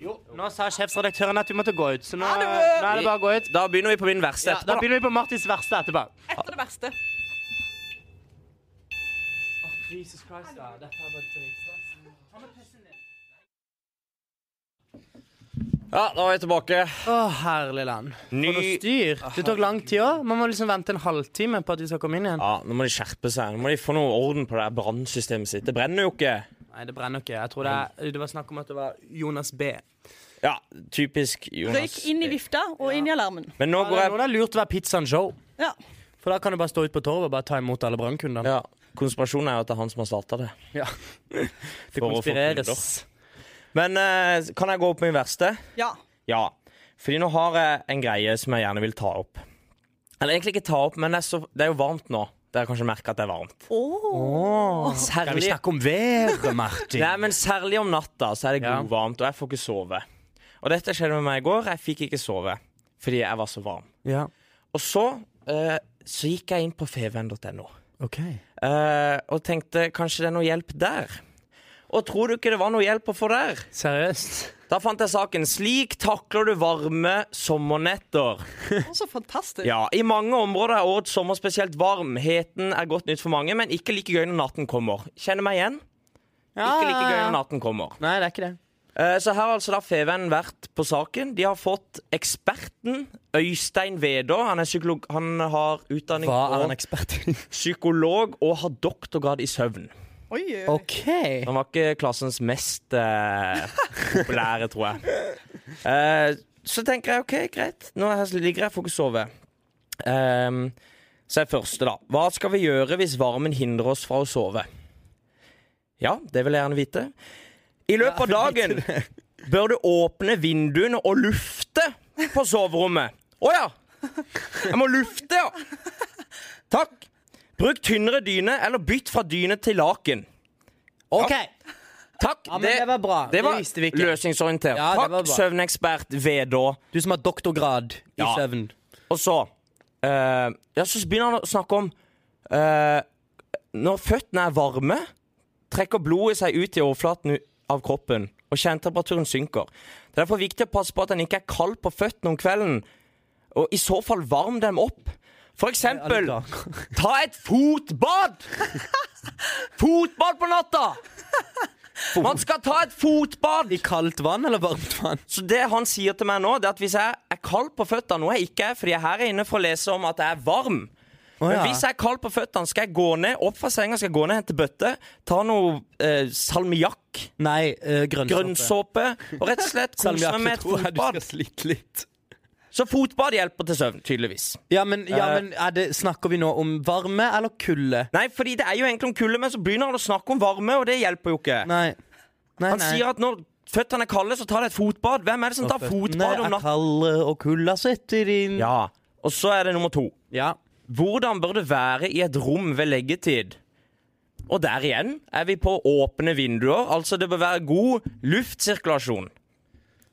Speaker 2: Nå sa sjefsredaktøren at vi måtte gå ut, så nå,
Speaker 3: Ha det!
Speaker 2: nå er det bare å gå ut.
Speaker 1: Da begynner vi på min verste
Speaker 2: Ja, da
Speaker 1: etterpå.
Speaker 2: begynner vi på Martins verste etterpå.
Speaker 3: Etter det verste.
Speaker 2: Jesus Christ, da. Dette er bare dritstress.
Speaker 1: Ja, da er vi tilbake.
Speaker 2: Å, herlig land.
Speaker 1: Ny
Speaker 2: For noe styr. Det tok lang tid òg. Man må liksom vente en halvtime på at de skal komme inn igjen.
Speaker 1: Ja, Nå må de skjerpe seg. Nå må de få noe orden på det her brannsystemet sitt. Det brenner jo ikke.
Speaker 2: Nei, det brenner ikke. Jeg tror det, er, det var snakk om at det var Jonas B.
Speaker 1: Ja, typisk Jonas.
Speaker 3: Røyk inn i vifta og inn i alarmen.
Speaker 1: Men nå
Speaker 2: Ja, det
Speaker 1: går
Speaker 2: er
Speaker 1: jeg
Speaker 2: noe det er lurt å være Pizzaen Show.
Speaker 3: Ja.
Speaker 2: For da kan du bare stå ute på torvet og bare ta imot alle brannkundene.
Speaker 1: ja, Konspirasjonen er jo at det er han som har starta det.
Speaker 2: Ja. Det
Speaker 1: For å få
Speaker 2: konspireres.
Speaker 1: Men eh, kan jeg gå opp med min verste?
Speaker 3: ja.
Speaker 1: Ja. Fordi nå har jeg en greie som jeg gjerne vil ta opp. Eller egentlig ikke ta opp, men det er, så, det er jo varmt nå. Dere har kanskje merka at det er varmt.
Speaker 2: Kan vi
Speaker 1: Særlig,
Speaker 2: snakke om været, Martin?
Speaker 1: nei, men særlig om natta så er det
Speaker 2: Ja.
Speaker 1: godvarmt, og jeg får ikke sove. Og dette skjedde med meg i går. Jeg fikk ikke sove fordi jeg var så varm.
Speaker 2: Ja,
Speaker 1: Og så, eh, så gikk jeg inn på feven.no.
Speaker 2: ok.
Speaker 1: Eh, og tenkte kanskje det er noe hjelp der. Og tror du ikke det var noe hjelp å få der?
Speaker 2: Seriøst?
Speaker 1: Da fant jeg saken. Slik takler du varme sommernetter.
Speaker 3: Og så fantastisk.
Speaker 1: Ja, I mange områder er årets sommer spesielt varm. Heten er godt nytt for mange, men ikke like gøy når natten kommer. Kjenner meg igjen?
Speaker 2: Ah,
Speaker 1: Ikke like gøy når natten kommer.
Speaker 2: Nei, det er ikke det.
Speaker 1: Eh, Så her har altså da Feven vært på saken. De har fått eksperten Øystein Vedå. Han, er psykolog- han har utdanning
Speaker 2: Hva er
Speaker 1: og
Speaker 2: han ekspert i?
Speaker 1: psykolog og har doktorgrad i søvn.
Speaker 3: Oi, oi, oi.
Speaker 2: Ok.
Speaker 1: Han var ikke klassens mest eh, populære, tror jeg. Eh, så tenker jeg OK, greit. Nå her ligger jeg, får ikke sove. Ehm, så er første, da. Hva skal vi gjøre hvis varmen hindrer oss fra å sove? Ja, det vil jeg gjerne vite. I løpet av
Speaker 2: [LAUGHS]
Speaker 1: dagen bør du åpne vinduene og lufte på soverommet. Å ja! Jeg må lufte, ja. Takk. Bruk tynnere dyne, eller bytt fra dyne til laken.
Speaker 2: Ok.
Speaker 1: Takk.
Speaker 2: Ja, men det var bra.
Speaker 1: Det
Speaker 2: Det
Speaker 1: var
Speaker 2: visste vi ikke.
Speaker 1: løsningsorientert.
Speaker 2: Ja, det var
Speaker 1: Takk,
Speaker 2: bra.
Speaker 1: søvnekspert Vedå.
Speaker 2: Du som har doktorgrad i
Speaker 1: Ja.
Speaker 2: søvn.
Speaker 1: Og så eh, Ja, så begynner han å snakke om eh, Når føttene er varme, trekker blodet seg ut i overflaten u- av kroppen, og kjernetemperaturen synker. Det er derfor viktig å passe på at den ikke er kald på føttene om kvelden, og i så fall varm dem opp. For eksempel
Speaker 2: Ja,
Speaker 1: [LAUGHS] ta et
Speaker 2: [LAUGHS]
Speaker 1: fotbad! Fotbad på natta! Man skal ta et fotbad!
Speaker 2: I kaldt vann eller varmt vann?
Speaker 1: Så det han sier til meg nå, det er at hvis jeg er kald på føttene, noe jeg ikke er, fordi jeg her er inne for å lese om at jeg er varm Men hvis jeg er kald på føttene, skal jeg gå ned opp fra senga, skal jeg gå ned og hente bøtte, ta noe eh, salmiakk,
Speaker 2: Nei, eh, grønnsåpe.
Speaker 1: grønnsåpe, og rett og slett kose
Speaker 2: Salmiakk,
Speaker 1: meg med
Speaker 2: det
Speaker 1: et
Speaker 2: tror jeg du
Speaker 1: fotbad.
Speaker 2: skal slite litt.
Speaker 1: Så fotbad hjelper til søvn, tydeligvis.
Speaker 2: Ja, men, ja,
Speaker 1: Eh.
Speaker 2: men er det, snakker vi nå om varme eller kulde?
Speaker 1: Nei, fordi det er jo egentlig om kulde, men så begynner han å snakke om varme, og det hjelper jo ikke.
Speaker 2: Nei. Nei,
Speaker 1: Han sier at når føttene er kalde, så tar det et fotbad. Hvem er det som tar fotbad om
Speaker 2: Nei,
Speaker 1: natta?
Speaker 2: kalde og kulda sitter inn.
Speaker 1: Ja. Og så er det nummer to.
Speaker 2: ja.
Speaker 1: Hvordan bør det være i et rom ved leggetid? Og der igjen er vi på åpne vinduer, altså det bør være god luftsirkulasjon.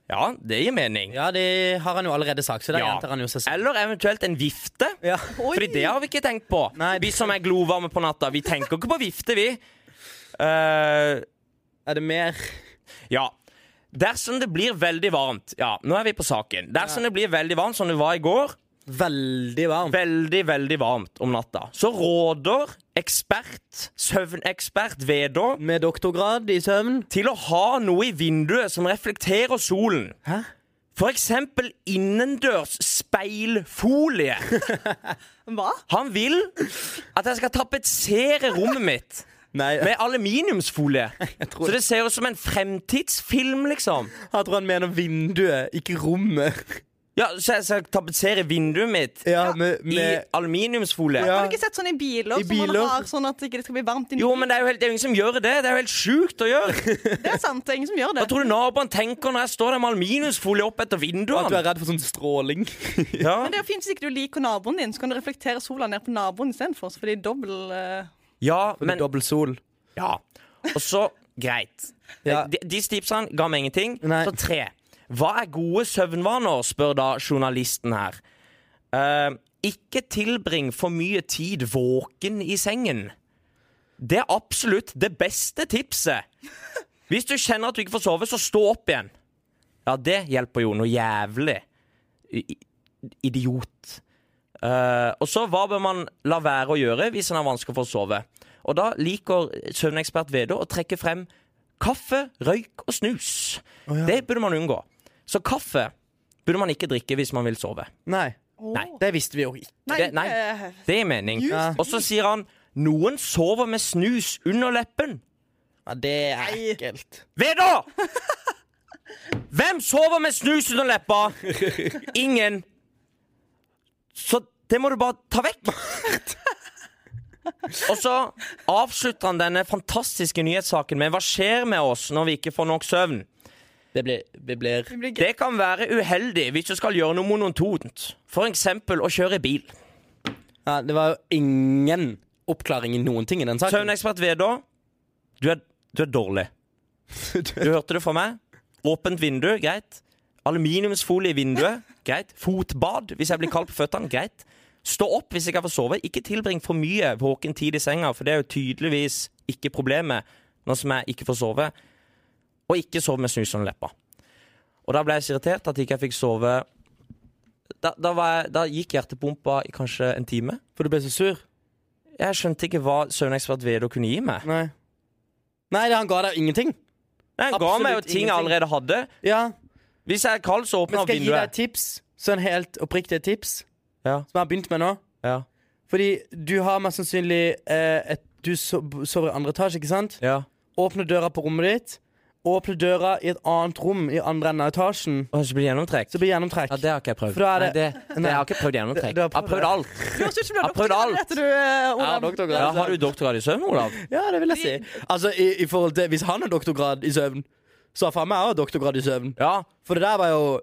Speaker 1: Ja, det gir mening.
Speaker 2: Ja, det har han jo allerede sagt, så der
Speaker 1: Ja.
Speaker 2: gjentar han jo seg selv.
Speaker 1: Eller eventuelt en vifte.
Speaker 2: Ja.
Speaker 1: Fordi det har vi ikke tenkt på.
Speaker 2: Nei.
Speaker 1: Vi som er glovarme på natta, vi tenker ikke på vifte, vi. Eh,
Speaker 2: Er det mer
Speaker 1: ja. Dersom det blir veldig varmt Ja, nå er vi på saken. Dersom det blir veldig varmt, som det var i går,
Speaker 2: veldig varmt?
Speaker 1: veldig, veldig varmt om natta. Så råder ekspert, søvnekspert Vedå,
Speaker 2: Med doktorgrad i søvn?
Speaker 1: til å ha noe i vinduet som reflekterer solen.
Speaker 2: Hæ?
Speaker 1: For eksempel innendørs speilfolie.
Speaker 3: Hva?
Speaker 1: Han vil at jeg skal tapetsere rommet mitt
Speaker 2: Nei,
Speaker 1: med
Speaker 2: [LAUGHS]
Speaker 1: aluminiumsfolie.
Speaker 2: tror-
Speaker 1: Så det ser ut som en fremtidsfilm, liksom.
Speaker 2: jeg tror han mener vinduet, ikke rommet.
Speaker 1: Ja, Så jeg skal tapetsere vinduet mitt
Speaker 2: Ja, med,
Speaker 1: i
Speaker 2: med
Speaker 1: aluminiumsfolie.
Speaker 2: Ja.
Speaker 3: Har du ikke sett sånn i biler?
Speaker 2: I
Speaker 3: som man
Speaker 2: biler?
Speaker 3: har sånn at det ikke skal bli varmt inni
Speaker 1: Jo, men det er jo, helt, det er jo ingen som gjør det. Det er jo helt sjukt å gjøre.
Speaker 3: Det er sant, det er ingen som gjør det.
Speaker 1: Hva tror du naboen tenker når jeg står der med aluminiumsfolie opp etter
Speaker 2: At du
Speaker 1: vinduene?
Speaker 2: er redd for sånn stråling.
Speaker 1: Ja.
Speaker 3: Men det er jo fint hvis ikke du liker naboen din, så kan du reflektere sola ned på naboen istedenfor. For det er dobbel eh,
Speaker 1: ja,
Speaker 2: [LAUGHS] Men,
Speaker 1: men
Speaker 2: Dobbel sol.
Speaker 1: Ja. Og så Greit. Eh,
Speaker 2: Ja.
Speaker 1: De, de tipsene ga meg ingenting.
Speaker 2: Nei.
Speaker 1: Så tre. Hva er gode søvnvaner, spør da journalisten her. Eh, ikke tilbring for mye tid våken i sengen. Det er absolutt det beste tipset. Hvis du kjenner at du ikke får sove, så stå opp igjen. Ja, det hjelper jo noe jævlig. I, i- idiot. Eh, og så hva bør man la være å gjøre hvis en har vansker for å sove? Og da liker søvnekspert Vedå å trekke frem kaffe, røyk og snus. Det burde man unngå. Så kaffe burde man ikke drikke hvis man vil sove.
Speaker 2: Nei,
Speaker 1: Nei.
Speaker 2: det visste vi jo ikke.
Speaker 3: Nei,
Speaker 1: det- nei.
Speaker 3: eh,
Speaker 1: Det er mening.
Speaker 2: Ja.
Speaker 1: Og så sier han noen sover med snus under leppen.
Speaker 2: Ja, det er
Speaker 3: Nei.
Speaker 2: ekkelt.
Speaker 1: Veda! Hvem sover med snus under leppa? Ingen. Så det må du bare ta vekk. Og så avslutter han denne fantastiske nyhetssaken med hva skjer med oss når vi ikke får nok søvn.
Speaker 2: Det blir, det blir
Speaker 3: det blir gøy.
Speaker 1: Det kan være uheldig hvis du skal gjøre noe monotont, f.eks. å kjøre bil.
Speaker 2: ja, Det var jo ingen oppklaring i noen ting i den saken.
Speaker 1: Søvnekspert Veda, du er, du er dårlig. Du hørte det fra meg. Åpent vindu, greit. Aluminiumsfolie i vinduet, greit. Fotbad hvis jeg blir kald på føttene, greit. Stå opp hvis jeg kan få sove. Ikke tilbring for mye våken tid i senga, for det er jo tydeligvis ikke problemet nå som jeg ikke får sove. Og ikke sove med snus under leppa. Og da ble jeg så irritert at ikke jeg fikk sove. Da, da, var jeg, da gikk hjertepumpa i kanskje en time.
Speaker 2: For du ble så sur?
Speaker 1: Jeg skjønte ikke hva søvnekspert Vedo kunne gi meg.
Speaker 2: Nei. Nei, han ga deg ingenting.
Speaker 1: Nei, Han ga meg jo
Speaker 2: Absolutt
Speaker 1: ting jeg
Speaker 2: ingenting.
Speaker 1: allerede hadde.
Speaker 2: Ja,
Speaker 1: Hvis jeg er kald, så åpner
Speaker 2: Men
Speaker 1: han
Speaker 2: skal jeg gi deg
Speaker 1: vinduet.
Speaker 2: et tips? Sånn helt oppriktig et tips
Speaker 1: Ja.
Speaker 2: som jeg har begynt med nå.
Speaker 1: Ja.
Speaker 2: Fordi du har mest sannsynlig eh, et, Du so sover i andre etasje, ikke sant?
Speaker 1: Ja.
Speaker 2: Åpne døra på rommet ditt. Åpne døra i et annet rom i andre enden av etasjen.
Speaker 1: Og så blir det gjennomtrekk.
Speaker 2: Så blir det gjennomtrekk.
Speaker 1: Ja, det har ikke jeg prøvd.
Speaker 2: For da er
Speaker 1: Nei,
Speaker 2: det-
Speaker 1: det, det,
Speaker 2: Nei.
Speaker 1: jeg har ikke prøvd
Speaker 2: Det-
Speaker 1: gjennomtrekk.
Speaker 2: du har
Speaker 1: Jeg har
Speaker 2: prøvd
Speaker 1: prøvd alt.
Speaker 3: Du høres ut som du
Speaker 1: Jeg
Speaker 3: har
Speaker 1: prøvd
Speaker 3: doktorgrad,
Speaker 1: alt.
Speaker 3: heter du, eh,
Speaker 2: Ja,
Speaker 3: Olav.
Speaker 2: doktorgrad.
Speaker 1: Ja, har du doktorgrad i søvn, Olav?
Speaker 2: Ja, det vil jeg si. Altså, i, i forhold til Hvis han har doktorgrad i søvn, så har faen meg også doktorgrad i søvn.
Speaker 1: Ja.
Speaker 2: For det der var jo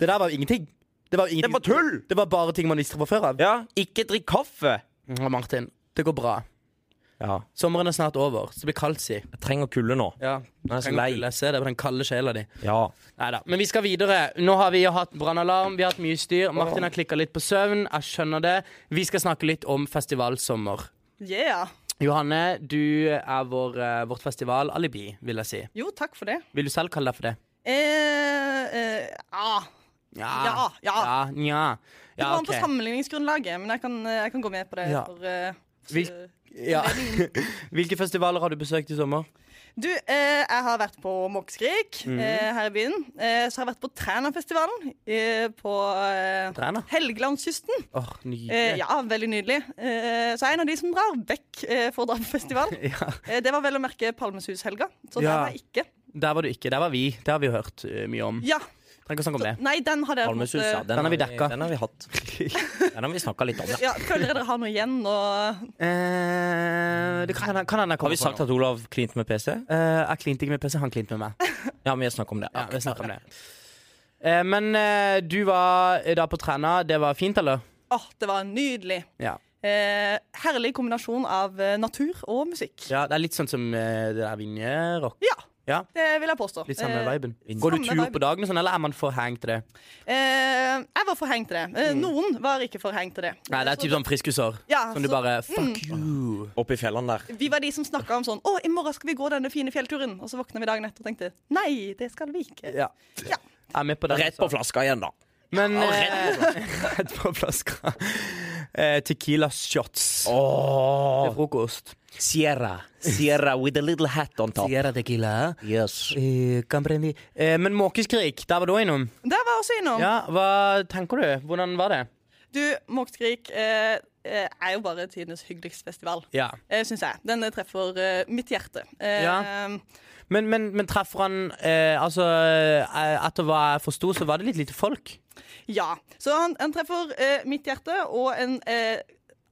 Speaker 2: Det der var jo ingenting. Det var, jo
Speaker 1: Det
Speaker 2: ingenting.
Speaker 1: var tull!
Speaker 2: Det var bare ting man visste fra før av.
Speaker 1: Ja. Ikke drikk kaffe.
Speaker 2: Ja, Martin, det går bra.
Speaker 1: Ja.
Speaker 2: Sommeren er snart over, så det blir kaldt, si.
Speaker 1: Jeg trenger kulde nå.
Speaker 2: Ja,
Speaker 1: Nå er jeg så
Speaker 2: trenger
Speaker 1: lei.
Speaker 2: å lese det på den kalde sjela di.
Speaker 1: Ja.
Speaker 2: Neida. Men vi skal videre. Nå har vi jo hatt brannalarm, vi har hatt mye styr. Martin har klikka litt på søvn. Jeg skjønner det. Vi skal snakke litt om festivalsommer.
Speaker 3: Yeah.
Speaker 2: Johanne, du er vår, eh, vårt festivalalibi, vil jeg si.
Speaker 3: Jo, takk for det.
Speaker 2: Vil du selv kalle deg for det?
Speaker 3: Eh, eh, ah. Ja, ja.
Speaker 2: Ja, nja.
Speaker 3: Det
Speaker 2: Ja,
Speaker 3: var på
Speaker 2: ok.
Speaker 3: sammenligningsgrunnlaget, men jeg kan, eh, jeg kan gå med på det.
Speaker 2: Ja.
Speaker 3: For, eh, for-
Speaker 2: Vil- [LAUGHS] Ja. [LAUGHS] Hvilke festivaler har du besøkt i sommer?
Speaker 3: Du, eh, jeg har vært på Måkeskrik
Speaker 2: Mhm.
Speaker 3: eh, her i byen. Eh, så har jeg vært på Trænafestivalen eh, på eh,
Speaker 2: Træna?
Speaker 3: Helgelandskysten.
Speaker 2: Åh, nydelig.
Speaker 3: Eh, ja, veldig nydelig. Eh, så jeg er en av de som drar vekk eh, for å dra
Speaker 2: [LAUGHS]
Speaker 3: på festival.
Speaker 2: [LAUGHS] Ja.
Speaker 3: Eh, det var vel å merke Palmesushelga, så der
Speaker 2: Ja.
Speaker 3: var jeg ikke.
Speaker 2: Der var du ikke. Der var vi. Det har vi jo hørt eh, mye om.
Speaker 3: Ja,
Speaker 2: Trenger ikke å snakke om det.
Speaker 3: Nei, den har dere
Speaker 1: Almesus, ja.
Speaker 2: Den har vi dekka.
Speaker 1: Den har vi hatt. [LAUGHS] Den har vi snakka litt om, ja.
Speaker 3: ja, Føler dere dere har noe igjen? Og...
Speaker 2: Eh, det kan, kan hende jeg
Speaker 1: Har
Speaker 2: kommer
Speaker 1: vi sagt
Speaker 2: på noe.
Speaker 1: at Olav klinte med PC?
Speaker 2: Eh, jeg klinte ikke med PC, han klinte med meg.
Speaker 1: Ja, vi snakker om det.
Speaker 2: Ja, vi snakker om det. Eh, men eh, du var eh, da på Træna. Det var fint, eller?
Speaker 3: Åh, det var nydelig.
Speaker 2: Ja.
Speaker 3: Eh, herlig kombinasjon av eh, natur og musikk.
Speaker 2: ja det er litt sånn som eh, det der Vinjerock.
Speaker 3: Ja,
Speaker 2: Ja.
Speaker 3: det vil jeg påstå.
Speaker 2: Litt samme
Speaker 3: Eh,
Speaker 2: viben. Går du
Speaker 3: Samme
Speaker 2: tur
Speaker 3: viben.
Speaker 2: på dagen, og sånn, eller er man for hang til det?
Speaker 3: Eh, jeg var for heng til det. Eh, Noen var ikke for heng til det.
Speaker 2: Mm. Nei, det er typ sånn friskusår.
Speaker 3: Ja,
Speaker 2: som du
Speaker 3: så-
Speaker 2: bare Fuck you.
Speaker 1: Oppe i fjellene der.
Speaker 3: Vi var de som snakka om sånn Å, i morgen skal vi gå denne fine fjellturen. Og så våkna vi dagen etter og tenkte nei, det skal vi ikke.
Speaker 2: Ja. Jeg
Speaker 3: Ja.
Speaker 2: er med på den. altså.
Speaker 1: Rett på flaska igjen, da.
Speaker 2: Men
Speaker 1: Ja,
Speaker 2: eh, [LAUGHS] Rett på flaska. Eh, tequila shots. Til
Speaker 1: Åh,
Speaker 2: frokost.
Speaker 1: Sierra. Sierra with a little hat on top.
Speaker 2: Sierra tequila.
Speaker 1: Yes.
Speaker 2: Eh, Camprendi. Eh, men Måkeskrik, der var du innom.
Speaker 3: Der var jeg også innom.
Speaker 2: Ja, hva tenker du? Hvordan var det?
Speaker 3: Du, Måkeskrik eh, eh, er jo bare tidenes hyggeligste festival.
Speaker 2: Ja.
Speaker 3: Eh, Syns jeg. Den eh, treffer eh, mitt hjerte. Eh,
Speaker 2: Ja. Men, men, men treffer han eh, Altså, eh, etter hva jeg forsto, så var det litt lite folk.
Speaker 3: Ja. Så han, han treffer eh, mitt hjerte og en eh,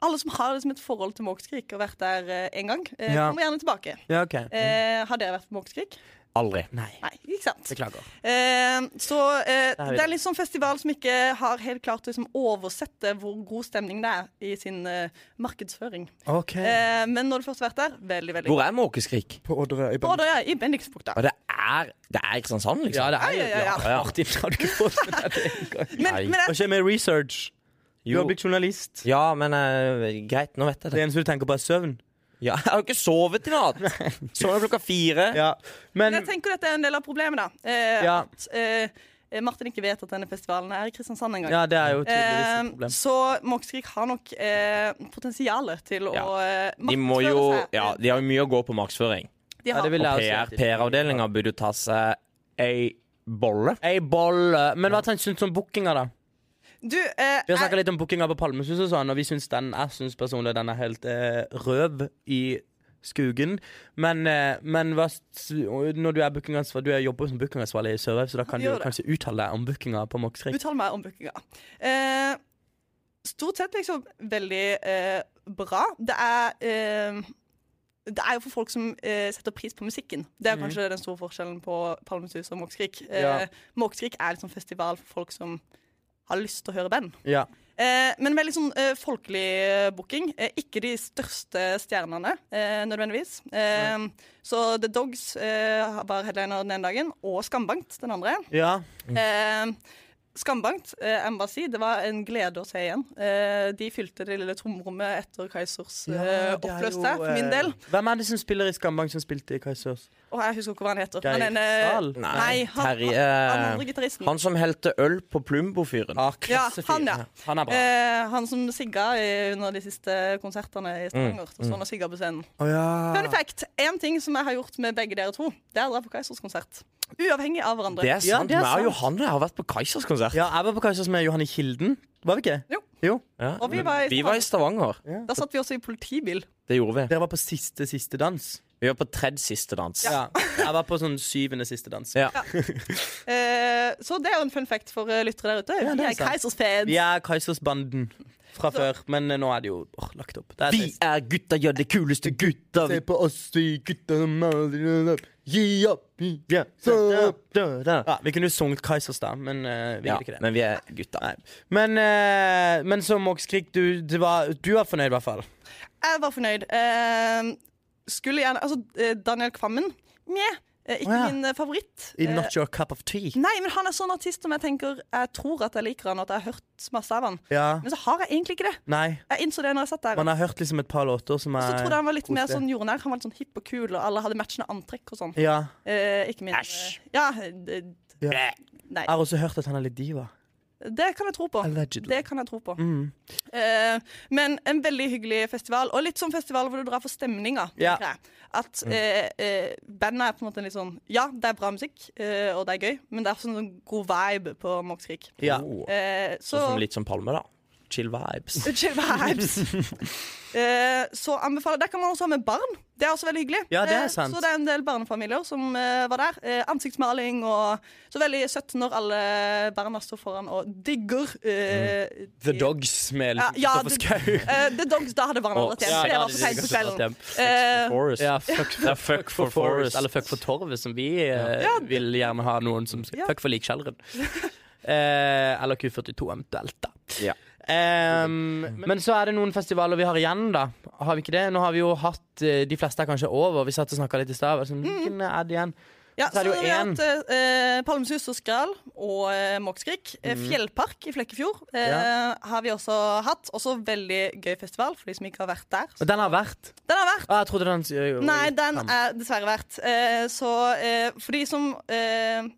Speaker 3: alle som har liksom et forhold til Måkeskrik og vært der eh, en gang, eh,
Speaker 2: Ja.
Speaker 3: kommer gjerne tilbake.
Speaker 2: Ja, ok
Speaker 3: Eh, har dere vært på Måkeskrik?
Speaker 1: Aldri.
Speaker 2: Nei.
Speaker 3: Nei, ikke sant?
Speaker 2: Beklager.
Speaker 3: Eh, så
Speaker 2: er
Speaker 3: eh,
Speaker 2: vi
Speaker 3: det er litt sånn festival som ikke har helt klart å liksom, oversette hvor god stemning det er i sin eh, markedsføring.
Speaker 2: OK.
Speaker 3: Eh, men når du først har vært der, veldig, veldig
Speaker 1: Hvor er Måkeskrik?
Speaker 2: på Odderøy.
Speaker 3: Å, da er jeg i Bendiksbukta.
Speaker 1: Ja, Det er, det er Kristiansand, liksom.
Speaker 2: Ja, det er jo
Speaker 3: Ja, ja, ja, ja.
Speaker 2: ja, Martin, har du ikke fått med deg det engang?
Speaker 3: Men,
Speaker 1: Nei.
Speaker 3: men
Speaker 2: Hva
Speaker 3: jeg,
Speaker 2: skjer med research? Du
Speaker 1: Jo.
Speaker 2: har blitt journalist.
Speaker 1: Ja, men eh, greit, nå vet jeg
Speaker 2: Det
Speaker 1: det.
Speaker 2: eneste du tenker på, er søvn.
Speaker 1: Ja, [LAUGHS] jeg har jo ikke sovet i natt. Sovna klokka fire.
Speaker 2: Ja. Men
Speaker 3: men jeg tenker dette er en del av problemet, da. Eh,
Speaker 2: Ja.
Speaker 3: At eh, Martin ikke vet at denne festivalen er i Kristiansand engang.
Speaker 2: Ja, det er jo tydeligvis
Speaker 3: Eh,
Speaker 2: et problem.
Speaker 3: så Måkeskrik har nok eh, potensial til å eh,
Speaker 1: De må
Speaker 3: markedsføre
Speaker 1: jo
Speaker 3: seg.
Speaker 1: Ja, de har jo mye å gå på marksføring.
Speaker 3: de
Speaker 2: Ja,
Speaker 3: har.
Speaker 2: det vil
Speaker 1: Og
Speaker 2: jeg også
Speaker 1: PR
Speaker 2: si.
Speaker 1: PR-avdelinga burde jo ta seg ei bolle.
Speaker 2: Ei bolle. Men hva syns du om bookinga, da?
Speaker 3: Du, eh,
Speaker 2: Vi har
Speaker 3: jeg,
Speaker 2: snakka litt om bookinga på Palmesus og sånn, og vi syns den jeg synes personlig den er helt eh, røv i skugen. Men, eh, men hva, s- når du er bookingansvarlig Du er jobber som bookingansvarlig i Sørøy, så da kan du
Speaker 3: Gjør det.
Speaker 2: kanskje uttale deg om bookinga på Moxrik.
Speaker 3: Uttal meg om bookinga. Eh, stort sett liksom veldig eh, bra. Det er eh, det er jo for folk som eh, setter pris på musikken. Det er kanskje den store forskjellen på Palmesus og Måkeskrik. Eh,
Speaker 2: Ja.
Speaker 3: Måkeskrik er liksom festival for folk som har lyst til å høre band.
Speaker 2: Ja.
Speaker 3: Eh, men veldig sånn eh, folkelig eh, booking. Eh, ikke de største stjernene, eh, nødvendigvis. Eh, så The Dogs eh, var headliner den ene dagen, og Skambankt den andre.
Speaker 2: ja.
Speaker 3: Eh, Skambankt, eh, jeg må bare si, det var en glede å se igjen. Eh, de fylte det lille tomrommet etter Kaizers eh, oppløste, for min del.
Speaker 2: Eh, Hvem er det som spiller i Skambank, som spilte i Kaizers?
Speaker 3: Og jeg husker ikke hva han heter.
Speaker 2: Geir
Speaker 3: han ene-
Speaker 2: Sahl?
Speaker 3: Nei, han,
Speaker 1: Terje-
Speaker 3: han, han andre gitaristen.
Speaker 1: Han som helte øl på Plumbo-fyren.
Speaker 2: Ah,
Speaker 3: Ja,
Speaker 2: klassefyr.
Speaker 3: han, ja.
Speaker 2: Han er bra.
Speaker 3: Eh, han som sigga eh, under de siste konsertene i Stavanger. Så han og sigga på scenen.
Speaker 2: Å, ja.
Speaker 3: Fun fact, én ting som jeg har gjort med begge dere to, det er å dra på Kaizers konsert. Uavhengig av hverandre.
Speaker 1: Det er
Speaker 2: Ja,
Speaker 1: sant.
Speaker 2: det er
Speaker 1: Meg
Speaker 2: sant.
Speaker 1: og Johanne har vært på Kaizers konsert.
Speaker 2: ja, jeg var på Kaizers med Johanne Kilden, var vi ikke?
Speaker 3: Jo.
Speaker 2: jo.
Speaker 1: Ja,
Speaker 3: Og vi
Speaker 1: men
Speaker 3: var i
Speaker 1: vi var i Stavanger.
Speaker 3: Da satt vi også i politibil.
Speaker 1: Det gjorde vi.
Speaker 2: Dere var på siste, siste dans.
Speaker 1: Vi var på tredje siste dans.
Speaker 2: Ja. Jeg var på sånn syvende siste dans.
Speaker 1: Ja.
Speaker 3: Eh, så det er jo en fun fact for eh, lyttere der ute.
Speaker 2: Ja, det
Speaker 3: vi
Speaker 2: er
Speaker 3: er
Speaker 2: sant.
Speaker 3: Kaizers-fans.
Speaker 2: Vi er Kaisersbanden fra før, men eh, nå er det jo åh, lagt opp. Det er
Speaker 1: Vi
Speaker 2: trist.
Speaker 1: er gutta, ja, det kuleste gutta. Vi
Speaker 2: på oss, vi gutta som aldri gir opp. Gi opp, gi opp, gi opp. Ja, vi kunne jo sunget Kaizers, da, men eh, vi
Speaker 1: Ja,
Speaker 2: gjorde ikke det.
Speaker 1: men vi er gutta.
Speaker 2: Men, eh, men så, Moxkrik, du, det var- du var fornøyd, i hvert fall.
Speaker 3: Jeg var fornøyd. Eh, skulle gjerne Altså, eh, Daniel Kvammen Mjau. Eh, ikke
Speaker 2: Å, ja.
Speaker 3: min eh, favoritt.
Speaker 2: I
Speaker 3: Eh,
Speaker 2: Not Your Cup of Tea.
Speaker 3: Nei, men han er sånn artist som jeg tenker Jeg tror at jeg liker han, og at jeg har hørt masse av han.
Speaker 2: Ja.
Speaker 3: Men så har jeg egentlig ikke det.
Speaker 2: Nei.
Speaker 3: Jeg innså det når jeg satt der.
Speaker 2: Man har hørt liksom et par låter som er
Speaker 3: Og så trodde jeg han var litt mer
Speaker 2: koselig.
Speaker 3: sånn jordnær. Han var litt sånn hipp og kul, og alle hadde matchende antrekk og sånn.
Speaker 2: Ja.
Speaker 3: Eh, ikke min
Speaker 1: Æsj.
Speaker 3: Ja, eh,
Speaker 2: ja.
Speaker 3: nei.
Speaker 2: Jeg har også hørt at han er litt diva.
Speaker 3: Det kan jeg tro på.
Speaker 2: Allegedly. Mm.
Speaker 3: Det kan jeg tro på. Eh, men en veldig hyggelig festival, og litt sånn festival hvor du drar for stemninga.
Speaker 2: Ja. Mm.
Speaker 3: tenker jeg. At eh, eh, bandet er på en måte litt sånn Ja, det er bra musikk, eh, og det er gøy, men det er sånn en god vibe på Moxkrik.
Speaker 2: Ja.
Speaker 1: Oh,
Speaker 3: Eh, så
Speaker 1: Sånn som
Speaker 3: [LAUGHS]
Speaker 1: litt som Palme, da. Chill [LAUGHS] vibes.
Speaker 2: [LAUGHS]
Speaker 3: Chill vibes. Eh, så anbefaler Der kan man også ha med barn. Det er også veldig hyggelig.
Speaker 2: Ja, det er
Speaker 3: Eh,
Speaker 2: sant.
Speaker 3: Så det er en del barnefamilier som eh, var der. Eh, ansiktsmaling og Så veldig søtt når alle barna står foran og digger eh,
Speaker 2: Mm. The
Speaker 3: de-
Speaker 2: Dogs med
Speaker 3: Ja, ja,
Speaker 2: Kristoffer
Speaker 3: det-
Speaker 2: Schau.
Speaker 3: Eh, The Dogs, da hadde barna allerede tjent. Det var for seint på kvelden. Eh,
Speaker 1: Forest.
Speaker 5: Ja, fuck for,
Speaker 1: Det er fuck for
Speaker 5: Forest.
Speaker 1: Forest.
Speaker 5: Eller fuck for Torvet, som vi eh, vil gjerne ha noen som
Speaker 3: Ja.
Speaker 5: skal Fuck for
Speaker 3: [LAUGHS]
Speaker 5: Likskjelleren. Eh, eller Q42 eventuelt, da.
Speaker 1: Ja.
Speaker 2: Ehm, men så er det noen festivaler vi har igjen, da. Har vi ikke det? Nå har vi jo hatt eh, De fleste er kanskje over. Vi satt og snakka litt i stad. var sånn,
Speaker 3: Mm.
Speaker 2: Hvilken er det igjen?
Speaker 3: ja,
Speaker 2: Så er det jo
Speaker 3: vi har
Speaker 2: en-
Speaker 3: hatt eh, Palmesus og Skral og eh, Måkskrik. Eh, Fjellpark i Flekkefjord eh, har vi også hatt. Også veldig gøy festival for de som ikke har vært der.
Speaker 2: Den har vært.
Speaker 3: Den har vært
Speaker 2: Ah, jeg trodde den øh,
Speaker 3: Nei, den
Speaker 2: fem.
Speaker 3: er dessverre verdt. Eh, så eh, for de som eh,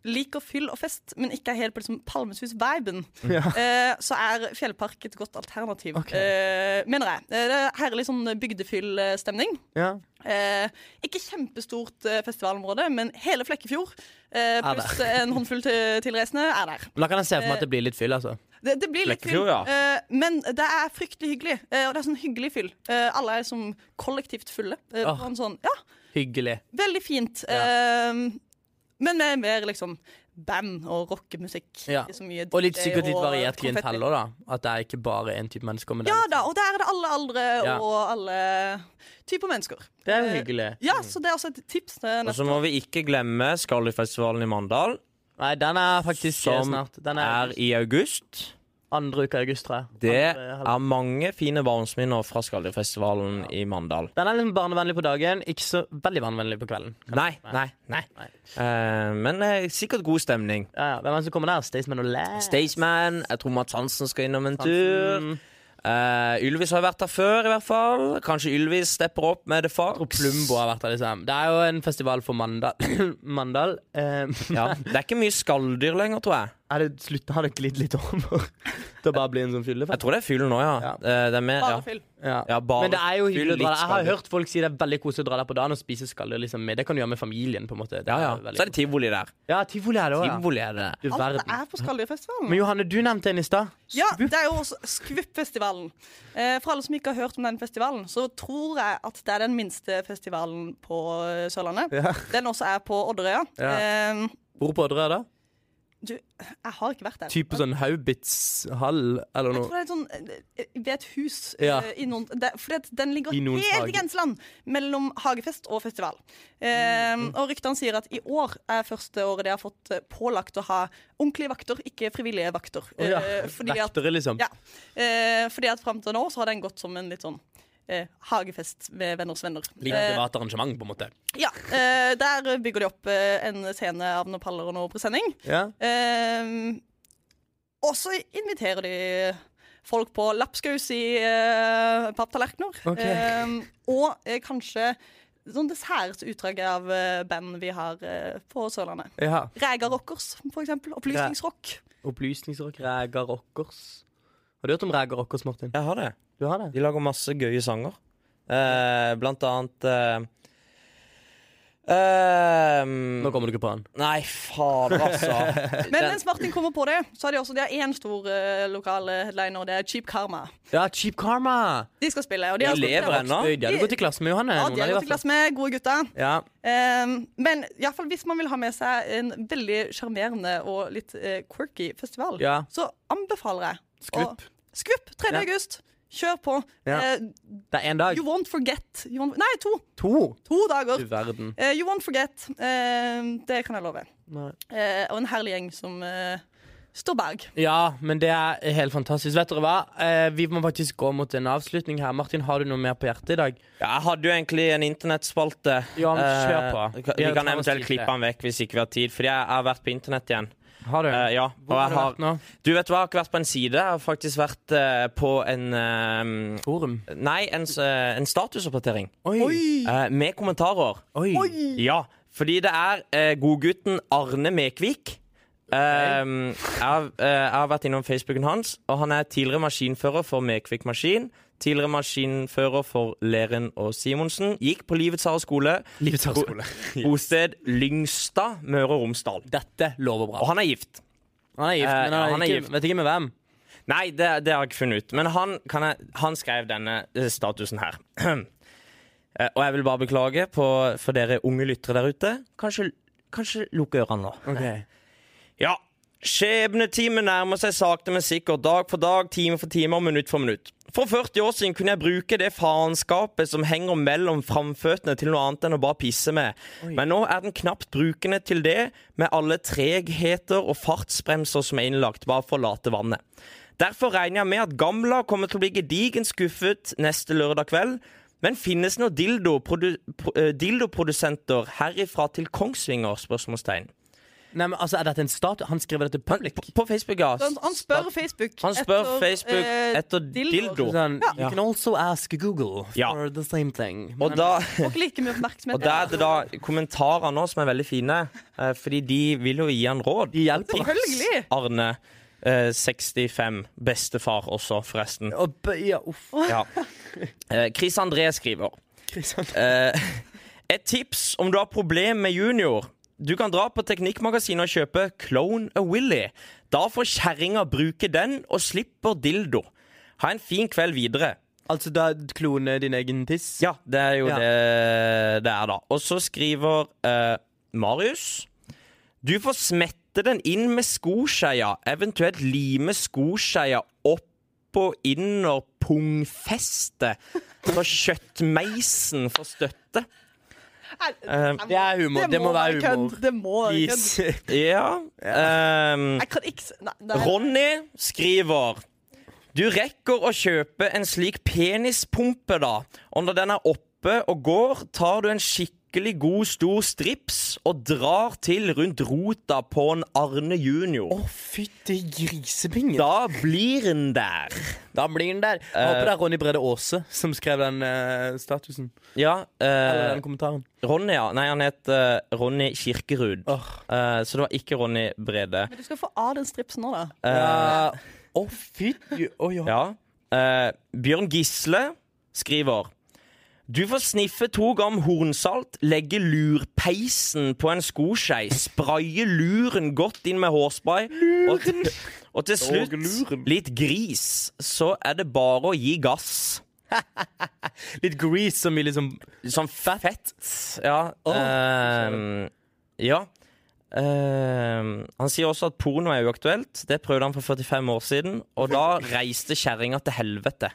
Speaker 3: liker fyll og fest, men ikke er helt på liksom, Palmesus-viben, eh, så er Fjellpark et godt alternativ,
Speaker 2: Ok.
Speaker 3: eh, mener jeg. Eh, det er herlig sånn bygdefyll-stemning.
Speaker 2: ja.
Speaker 3: Eh, ikke kjempestort eh, festivalområde, men hele Flekkefjord eh,
Speaker 2: der.
Speaker 3: pluss en håndfull til, tilreisende er der.
Speaker 2: Men Da kan jeg se for meg
Speaker 3: Eh.
Speaker 2: at det blir litt fyll, altså.
Speaker 3: Det, det blir litt fyll,
Speaker 1: Flekkefjord, ja.
Speaker 3: eh, men det er fryktelig hyggelig. Eh, og det er sånn hyggelig fyll. Eh, alle er som kollektivt fulle. Eh,
Speaker 2: Ah.
Speaker 3: på en sånn, ja,
Speaker 2: Hyggelig.
Speaker 3: Veldig fint. Ehm, men med mer liksom band og rockemusikk.
Speaker 2: Ja.
Speaker 3: Ikke så mye
Speaker 2: Og litt
Speaker 3: DJ
Speaker 2: sikkert litt
Speaker 3: og
Speaker 2: variert
Speaker 3: konfetti.
Speaker 2: klientell òg, da. At det er ikke bare én type mennesker. Men det er
Speaker 3: Ja
Speaker 2: litt-
Speaker 3: da, og der er det alle aldre
Speaker 2: Ja.
Speaker 3: og alle typer mennesker.
Speaker 2: Det er jo hyggelig.
Speaker 3: Ja, så det er også et tips. til
Speaker 1: Og
Speaker 3: neste-
Speaker 1: så må vi ikke glemme Skalifestivalen i Mandal,
Speaker 2: Nei, den er faktisk eh,
Speaker 1: som
Speaker 2: snart. Den er,
Speaker 1: er i august.
Speaker 2: andre uka i august, tror jeg.
Speaker 1: Det
Speaker 2: Andre halv-
Speaker 1: er mange fine barndomsminner fra Skaldyrfestivalen i Mandal.
Speaker 2: Den er liksom barnevennlig på dagen, ikke så veldig barnevennlig på kvelden.
Speaker 1: Nei, nei, nei. Eh, men eh, sikkert god stemning.
Speaker 2: Ja, ja. Hvem er det som kommer der? Staysman og Lass?
Speaker 1: Staysman, jeg tror Mads Hansen skal innom en tur. Eh, Ylvis har vært der før, i hvert fall. Kanskje Ylvis stepper opp med The Fox.
Speaker 2: Plumbo har vært der, liksom. Det er jo en festival for [CLEARS THROAT] Mandal. Mandal. Eh, [LAUGHS]
Speaker 1: Ja, det er ikke mye skalldyr lenger, tror jeg.
Speaker 2: hadde slutt, hadde glidd litt over til å bare bli en sånn
Speaker 1: Jeg
Speaker 2: fyllefest.
Speaker 1: tror det er fyll nå, ja.
Speaker 2: Ja.
Speaker 1: Eh, Det er med,
Speaker 3: Bare
Speaker 1: ja.
Speaker 3: fyll.
Speaker 2: Ja.
Speaker 1: ja bare
Speaker 2: Men det er jo hyggelig
Speaker 1: fyll,
Speaker 2: å dra
Speaker 1: litt
Speaker 2: der. Jeg har
Speaker 1: skalldyr.
Speaker 2: hørt folk si det er veldig koselig å dra der på dagen og spise skalldyr liksom. med. Det kan du gjøre med familien, på en måte. Det
Speaker 1: Ja, ja.
Speaker 2: er veldig
Speaker 1: Så er det tivoli der.
Speaker 2: koselig. ja tivoli er det òg, ja.
Speaker 1: Tivoli er det.
Speaker 2: Du
Speaker 3: Alt
Speaker 2: verden.
Speaker 3: er på Skalldyrfestivalen.
Speaker 2: Men Johanne, du nevnte en i stad.
Speaker 3: Ja, det er jo også Skvupp-festivalen. Eh, for alle som ikke har hørt om den festivalen, så tror jeg at det er den minste festivalen på eh, Sørlandet.
Speaker 2: Ja.
Speaker 3: Den også er på Odderøya.
Speaker 2: Ja.
Speaker 3: Eh,
Speaker 2: Hvor på Odderøy, da?
Speaker 3: du, jeg har ikke vært der.
Speaker 2: Type sånn Haubitz-hall eller
Speaker 3: Jeg
Speaker 2: noe?
Speaker 3: tror det er sånn eh, ved et hus
Speaker 2: Ja.
Speaker 3: eh, i noen det, For det, den ligger
Speaker 2: I noens
Speaker 3: helt
Speaker 2: hage.
Speaker 3: i grenseland mellom hagefest og festival. Eh,
Speaker 2: Mm,
Speaker 3: og ryktene sier at i år er første året de har fått eh, pålagt å ha ordentlige vakter, ikke frivillige vakter.
Speaker 2: Å ja.
Speaker 3: Eh, fordi, at,
Speaker 2: Vektere, liksom.
Speaker 3: ja, eh, fordi at fram til nå så har den gått som en litt sånn eh, hagefest med venners venner.
Speaker 2: Litt
Speaker 3: Eh,
Speaker 2: privat arrangement, på en måte.
Speaker 3: ja, eh, der bygger de opp eh, en scene av noen paller og noe presenning.
Speaker 2: Ja.
Speaker 3: Ehm, og så inviterer de folk på lapskaus i uh, papptallerkener.
Speaker 2: Ok.
Speaker 3: Ehm, og eh, kanskje sånn dessertutdrag av eh, band vi har eh, på Sørlandet.
Speaker 2: ja.
Speaker 3: Rega Rockers, for eksempel. Opplysningsrock.
Speaker 2: Opplysningsrock, Ræga Rockers. Har du hørt om Ræga Rockers, Martin?
Speaker 1: Jeg har det.
Speaker 2: Du har det?
Speaker 1: De lager masse gøye sanger. Eh, blant annet eh, eh,
Speaker 2: Nå kommer du ikke på han.
Speaker 1: Nei, fader,
Speaker 2: [LAUGHS]
Speaker 1: altså.
Speaker 3: Men mens Martin kommer på det, så har de også de har én stor eh, lokal headliner, og det er Cheap Karma.
Speaker 2: Ja, Cheap Karma!
Speaker 3: De skal spille. Og de
Speaker 1: De
Speaker 3: har
Speaker 1: lever
Speaker 3: ja,
Speaker 1: ennå.
Speaker 2: Øy, de hadde gått i klasse med Johanne. noen
Speaker 3: de har
Speaker 2: av hvert
Speaker 3: gått i
Speaker 2: fall.
Speaker 3: klasse med gode gutter.
Speaker 2: Ja.
Speaker 3: Um, men i alle fall, hvis man vil ha med seg en veldig sjarmerende og litt eh, quirky festival,
Speaker 2: Ja.
Speaker 3: så anbefaler jeg
Speaker 2: Skvupp.
Speaker 3: å- Skvupp! 3.
Speaker 2: Ja.
Speaker 3: august. Kjør på.
Speaker 2: Ja.
Speaker 3: Eh,
Speaker 2: Det er én dag.
Speaker 3: you won't forget. You won't, nei, to.
Speaker 2: To!
Speaker 3: To dager.
Speaker 2: Du verden.
Speaker 3: Eh, you won't forget. Eh, det kan jeg love.
Speaker 2: Nei.
Speaker 3: Eh, og en herlig gjeng som eh, står bak.
Speaker 2: Ja, men det er helt fantastisk. Vet dere hva? Eh, vi må faktisk gå mot en avslutning her. Martin, har du noe mer på hjertet i dag?
Speaker 1: Ja, jeg hadde jo egentlig en internettspalte.
Speaker 2: Ja, men kjør på.
Speaker 1: Eh, Vi
Speaker 2: Ja, ta
Speaker 1: kan
Speaker 2: oss
Speaker 1: eventuelt
Speaker 2: tid til
Speaker 1: klippe
Speaker 2: det.
Speaker 1: den vekk hvis ikke vi har tid, fordi jeg jeg har vært på internett igjen.
Speaker 2: Har du?
Speaker 1: Eh, ja, og
Speaker 2: Hvor har
Speaker 1: jeg
Speaker 2: du
Speaker 1: har
Speaker 2: vært nå?
Speaker 1: Du vet hva, jeg har ikke vært på en side. Jeg har faktisk vært eh, på en eh,
Speaker 2: Forum.
Speaker 1: Nei, en, s- eh, en statusoppdatering.
Speaker 2: Oi!
Speaker 1: eh, med kommentarer.
Speaker 2: Oi.
Speaker 1: Ja, fordi det er eh, godgutten Arne Mekvik. Eh, jeg, har, eh, jeg har vært innom Facebooken hans, og han er tidligere maskinfører for Mekvik Maskin. Tidligere maskinfører for Leren og Simonsen. Gikk på Livets harde skole.
Speaker 2: Livets høgskole.
Speaker 1: Bosted Lyngstad, Møre og Romsdal.
Speaker 2: Dette lover bra.
Speaker 1: Og han er gift.
Speaker 2: Han er gift,
Speaker 1: Eh,
Speaker 2: men han,
Speaker 1: ja, han er
Speaker 2: er
Speaker 1: gift.
Speaker 2: ikke, vet ikke med hvem.
Speaker 1: Nei, det, det har jeg ikke funnet ut. Men han, kan jeg, han skrev denne eh, statusen her. [CLEARS THROAT] Eh, Og jeg vil bare beklage på, for dere unge lyttere der ute. Kanskje, kanskje lukke ørene nå. Ja. Skjebnetimen nærmer seg sakte, men sikkert. Dag for dag, time for time og minutt for minutt. For 40 år siden kunne jeg bruke det faenskapet som henger mellom framføttene, til noe annet enn å bare pisse med. Men nå er den knapt brukende til det, med alle tregheter og fartsbremser som er innlagt bare for å late vannet. Derfor regner jeg med at Gamla kommer til å bli gedigent skuffet neste lørdag kveld. Men finnes det noen dildo produ pro eh, dildoprodusenter herifra til Kongsvinger? spørsmålstegn.
Speaker 2: Nei, men altså, Er dette en statue? Han skriver det til public?
Speaker 1: På, på Facebook, ja.
Speaker 3: Så Han, han spør Facebook
Speaker 1: Han spør
Speaker 3: etter,
Speaker 1: Facebook
Speaker 3: eh,
Speaker 1: etter dildo.
Speaker 2: Sånn, You can also ask Google
Speaker 1: Ja.
Speaker 2: for the same thing.
Speaker 1: Og da, [LAUGHS]
Speaker 3: Får ikke like mye oppmerksomhet.
Speaker 1: og da er det da kommentarer nå som er veldig fine, eh, fordi de vil jo gi han råd.
Speaker 2: de hjelper oss.
Speaker 3: Selvfølgelig!
Speaker 1: Arne, eh, 65, bestefar også, forresten.
Speaker 2: Og b- ja, uff.
Speaker 1: Ja. Eh, Chris André skriver. Eh, et tips om du har problem med junior. Du kan dra på Teknikkmagasinet og kjøpe Clone a Willy. Da får kjerringa bruke den og slipper dildo. Ha en fin kveld videre.
Speaker 2: Altså da klone din egen tiss?
Speaker 1: Ja, det er jo
Speaker 2: Ja.
Speaker 1: det det er, da. Og så skriver eh, Marius Du får smette den inn med skoskeia, eventuelt lime skoskeia opp og under pungfestet, så kjøttmeisen får støtte.
Speaker 3: Nei,
Speaker 1: Eh,
Speaker 2: Det er humor. Det må, være
Speaker 3: være
Speaker 2: humor.
Speaker 3: kødd. Det må være
Speaker 2: Please.
Speaker 3: kødd.
Speaker 1: ja. ehm,
Speaker 3: Jeg kan ikke s- Nei, nei.
Speaker 1: Ronny skriver Du rekker å kjøpe en slik penispumpe da Og når den er oppe og går Tar du en skikkelig skikkelig god, stor strips og drar til rundt rota på en Arne junior.
Speaker 2: fytti grisebingen.
Speaker 1: Da blir en der.
Speaker 2: Da blir den der. Jeg håper det er Ronny Brede Aase som skrev den eh, statusen.
Speaker 1: Ja,
Speaker 2: Eller
Speaker 1: eh,
Speaker 2: den kommentaren.
Speaker 1: Ronny, ja. Nei, han het eh, Ronny Kirkerud.
Speaker 2: Åh.
Speaker 1: Eh, så det var ikke Ronny Brede.
Speaker 3: Men du skal få av den stripsen nå, da.
Speaker 1: Eh,
Speaker 2: Ja. Å, fytti Å, ja.
Speaker 1: Ja. Eh, Bjørn Gisle skriver Du får sniffe to gram hornsalt, legge lurpeisen på en skoskei, spraye luren godt inn med hårspray og, t- og til
Speaker 2: Og
Speaker 1: slutt
Speaker 2: luren.
Speaker 1: litt gris. Så er det bare å gi gass.
Speaker 2: Litt grease som i liksom
Speaker 1: Sånn fett. Ja.
Speaker 2: Åh, Eh,
Speaker 1: ehm, ja. Ehm, han sier også at porno er uaktuelt. Det prøvde han for 45 år siden, og da reiste kjerringa til helvete.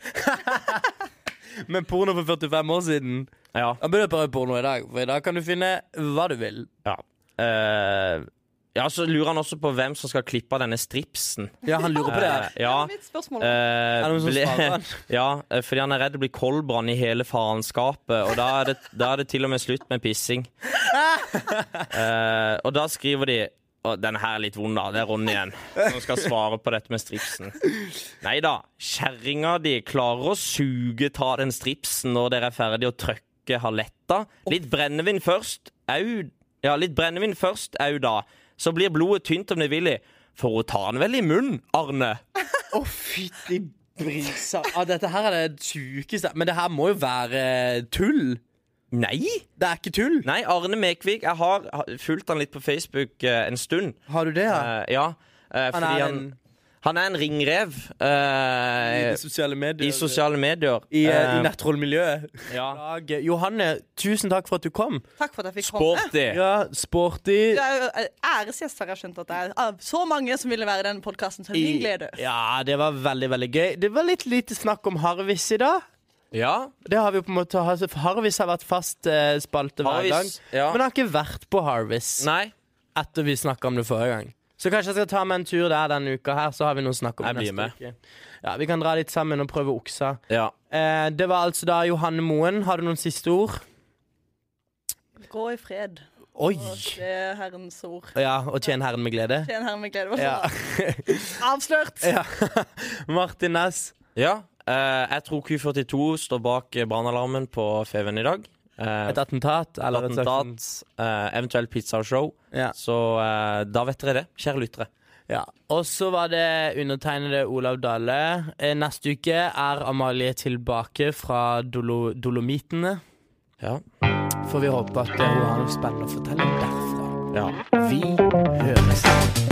Speaker 2: Men porno for 45 år siden.
Speaker 1: Ja.
Speaker 2: Da burde jeg prøve porno i dag, for i dag kan du finne hva du vil.
Speaker 1: Ja. Eh, ja, så lurer han også på hvem som skal klippe av denne stripsen.
Speaker 2: Ja, han lurer på det.
Speaker 1: Eh, ja.
Speaker 3: Det er mitt spørsmål.
Speaker 1: eh,
Speaker 2: Er det noen som
Speaker 1: ble-
Speaker 2: svarer han?
Speaker 1: [LAUGHS] ja, eh, fordi han er redd det blir koldbrann i hele faenskapet, og da er, det, da er det til og med slutt med
Speaker 2: [LAUGHS]
Speaker 1: pissing. Eh, og da skriver de og den her er litt vond, da. Det er Ronny igjen som skal svare på dette med stripsen. Nei da, kjerringa di klarer å suge ta den stripsen når dere er ferdig og trøkke haletta. Litt brennevin først, au. Ja, litt brennevin først, au da. Så blir blodet tynt om det vil i. For hun tar den vel i munnen, Arne.
Speaker 2: Å, fytti brisa. Ja, dette her er det sjukeste Men det her må jo være tull.
Speaker 1: Nei!
Speaker 2: Det er ikke tull.
Speaker 1: Nei, Arne Mekvik, jeg har har fulgt han litt på Facebook eh, en stund.
Speaker 2: Har du det, ja?
Speaker 1: Eh, ja. eh,
Speaker 2: Han
Speaker 1: fordi
Speaker 2: er
Speaker 1: han,
Speaker 2: en
Speaker 1: han er en ringrev eh,
Speaker 2: i sosiale
Speaker 1: i
Speaker 2: medier.
Speaker 1: sosiale medier.
Speaker 2: I, eh,
Speaker 1: Eh,
Speaker 2: i nettrollmiljøet.
Speaker 1: ja.
Speaker 2: Dag, eh, Johanne, tusen takk for at du kom.
Speaker 3: Takk for at jeg fikk komme. Eh,
Speaker 1: Sporty.
Speaker 2: Ja, sporty.
Speaker 3: Du er jo eh, æresgjest, har jeg skjønt. at det er av Så mange som ville være i denne podkasten. Til min glede.
Speaker 2: Ja, det var veldig, veldig gøy. Det var litt lite snakk om Harvis i dag.
Speaker 1: Ja.
Speaker 2: Det har vi jo på en måte Harvis har vært fast eh, spalte hver
Speaker 1: Harvis,
Speaker 2: gang.
Speaker 1: ja.
Speaker 2: Men har ikke vært på Harvis
Speaker 1: Nei,
Speaker 2: etter vi snakka om det forrige gang. Så kanskje jeg skal ta meg en tur der denne uka her, så har vi noe å snakke om
Speaker 1: Jeg blir med.
Speaker 2: neste uke. Ja, Vi kan dra litt sammen og prøve oksa.
Speaker 1: ja.
Speaker 2: Eh, det var altså da Johanne Moen. Har du noen siste ord?
Speaker 3: Gå i fred.
Speaker 2: Oi!
Speaker 3: Og se Herrens ord.
Speaker 2: Ja, og tjen Herren med glede.
Speaker 3: Tjen Herren med glede. Hva
Speaker 2: Ja. [LAUGHS]
Speaker 3: sa du?
Speaker 1: [LAUGHS]
Speaker 3: Avslørt!
Speaker 2: Martin Næss.
Speaker 1: ja. Eh, jeg tror Q42 står bak eh, brannalarmen på Feven i dag. Eh,
Speaker 2: Et attentat? Eller et
Speaker 1: attentat, eh, eventuelt pizzashow.
Speaker 2: Ja.
Speaker 1: Så eh, da vet dere det, kjære lyttere.
Speaker 2: Ja. Og så var det undertegnede Olav Dale. Eh, Neste uke er Amalie tilbake fra Dolo Dolomitene.
Speaker 1: Ja.
Speaker 2: Får vi håpe at eh, hun har noe spennende å fortelle derfra.
Speaker 1: ja.
Speaker 2: Vi høres.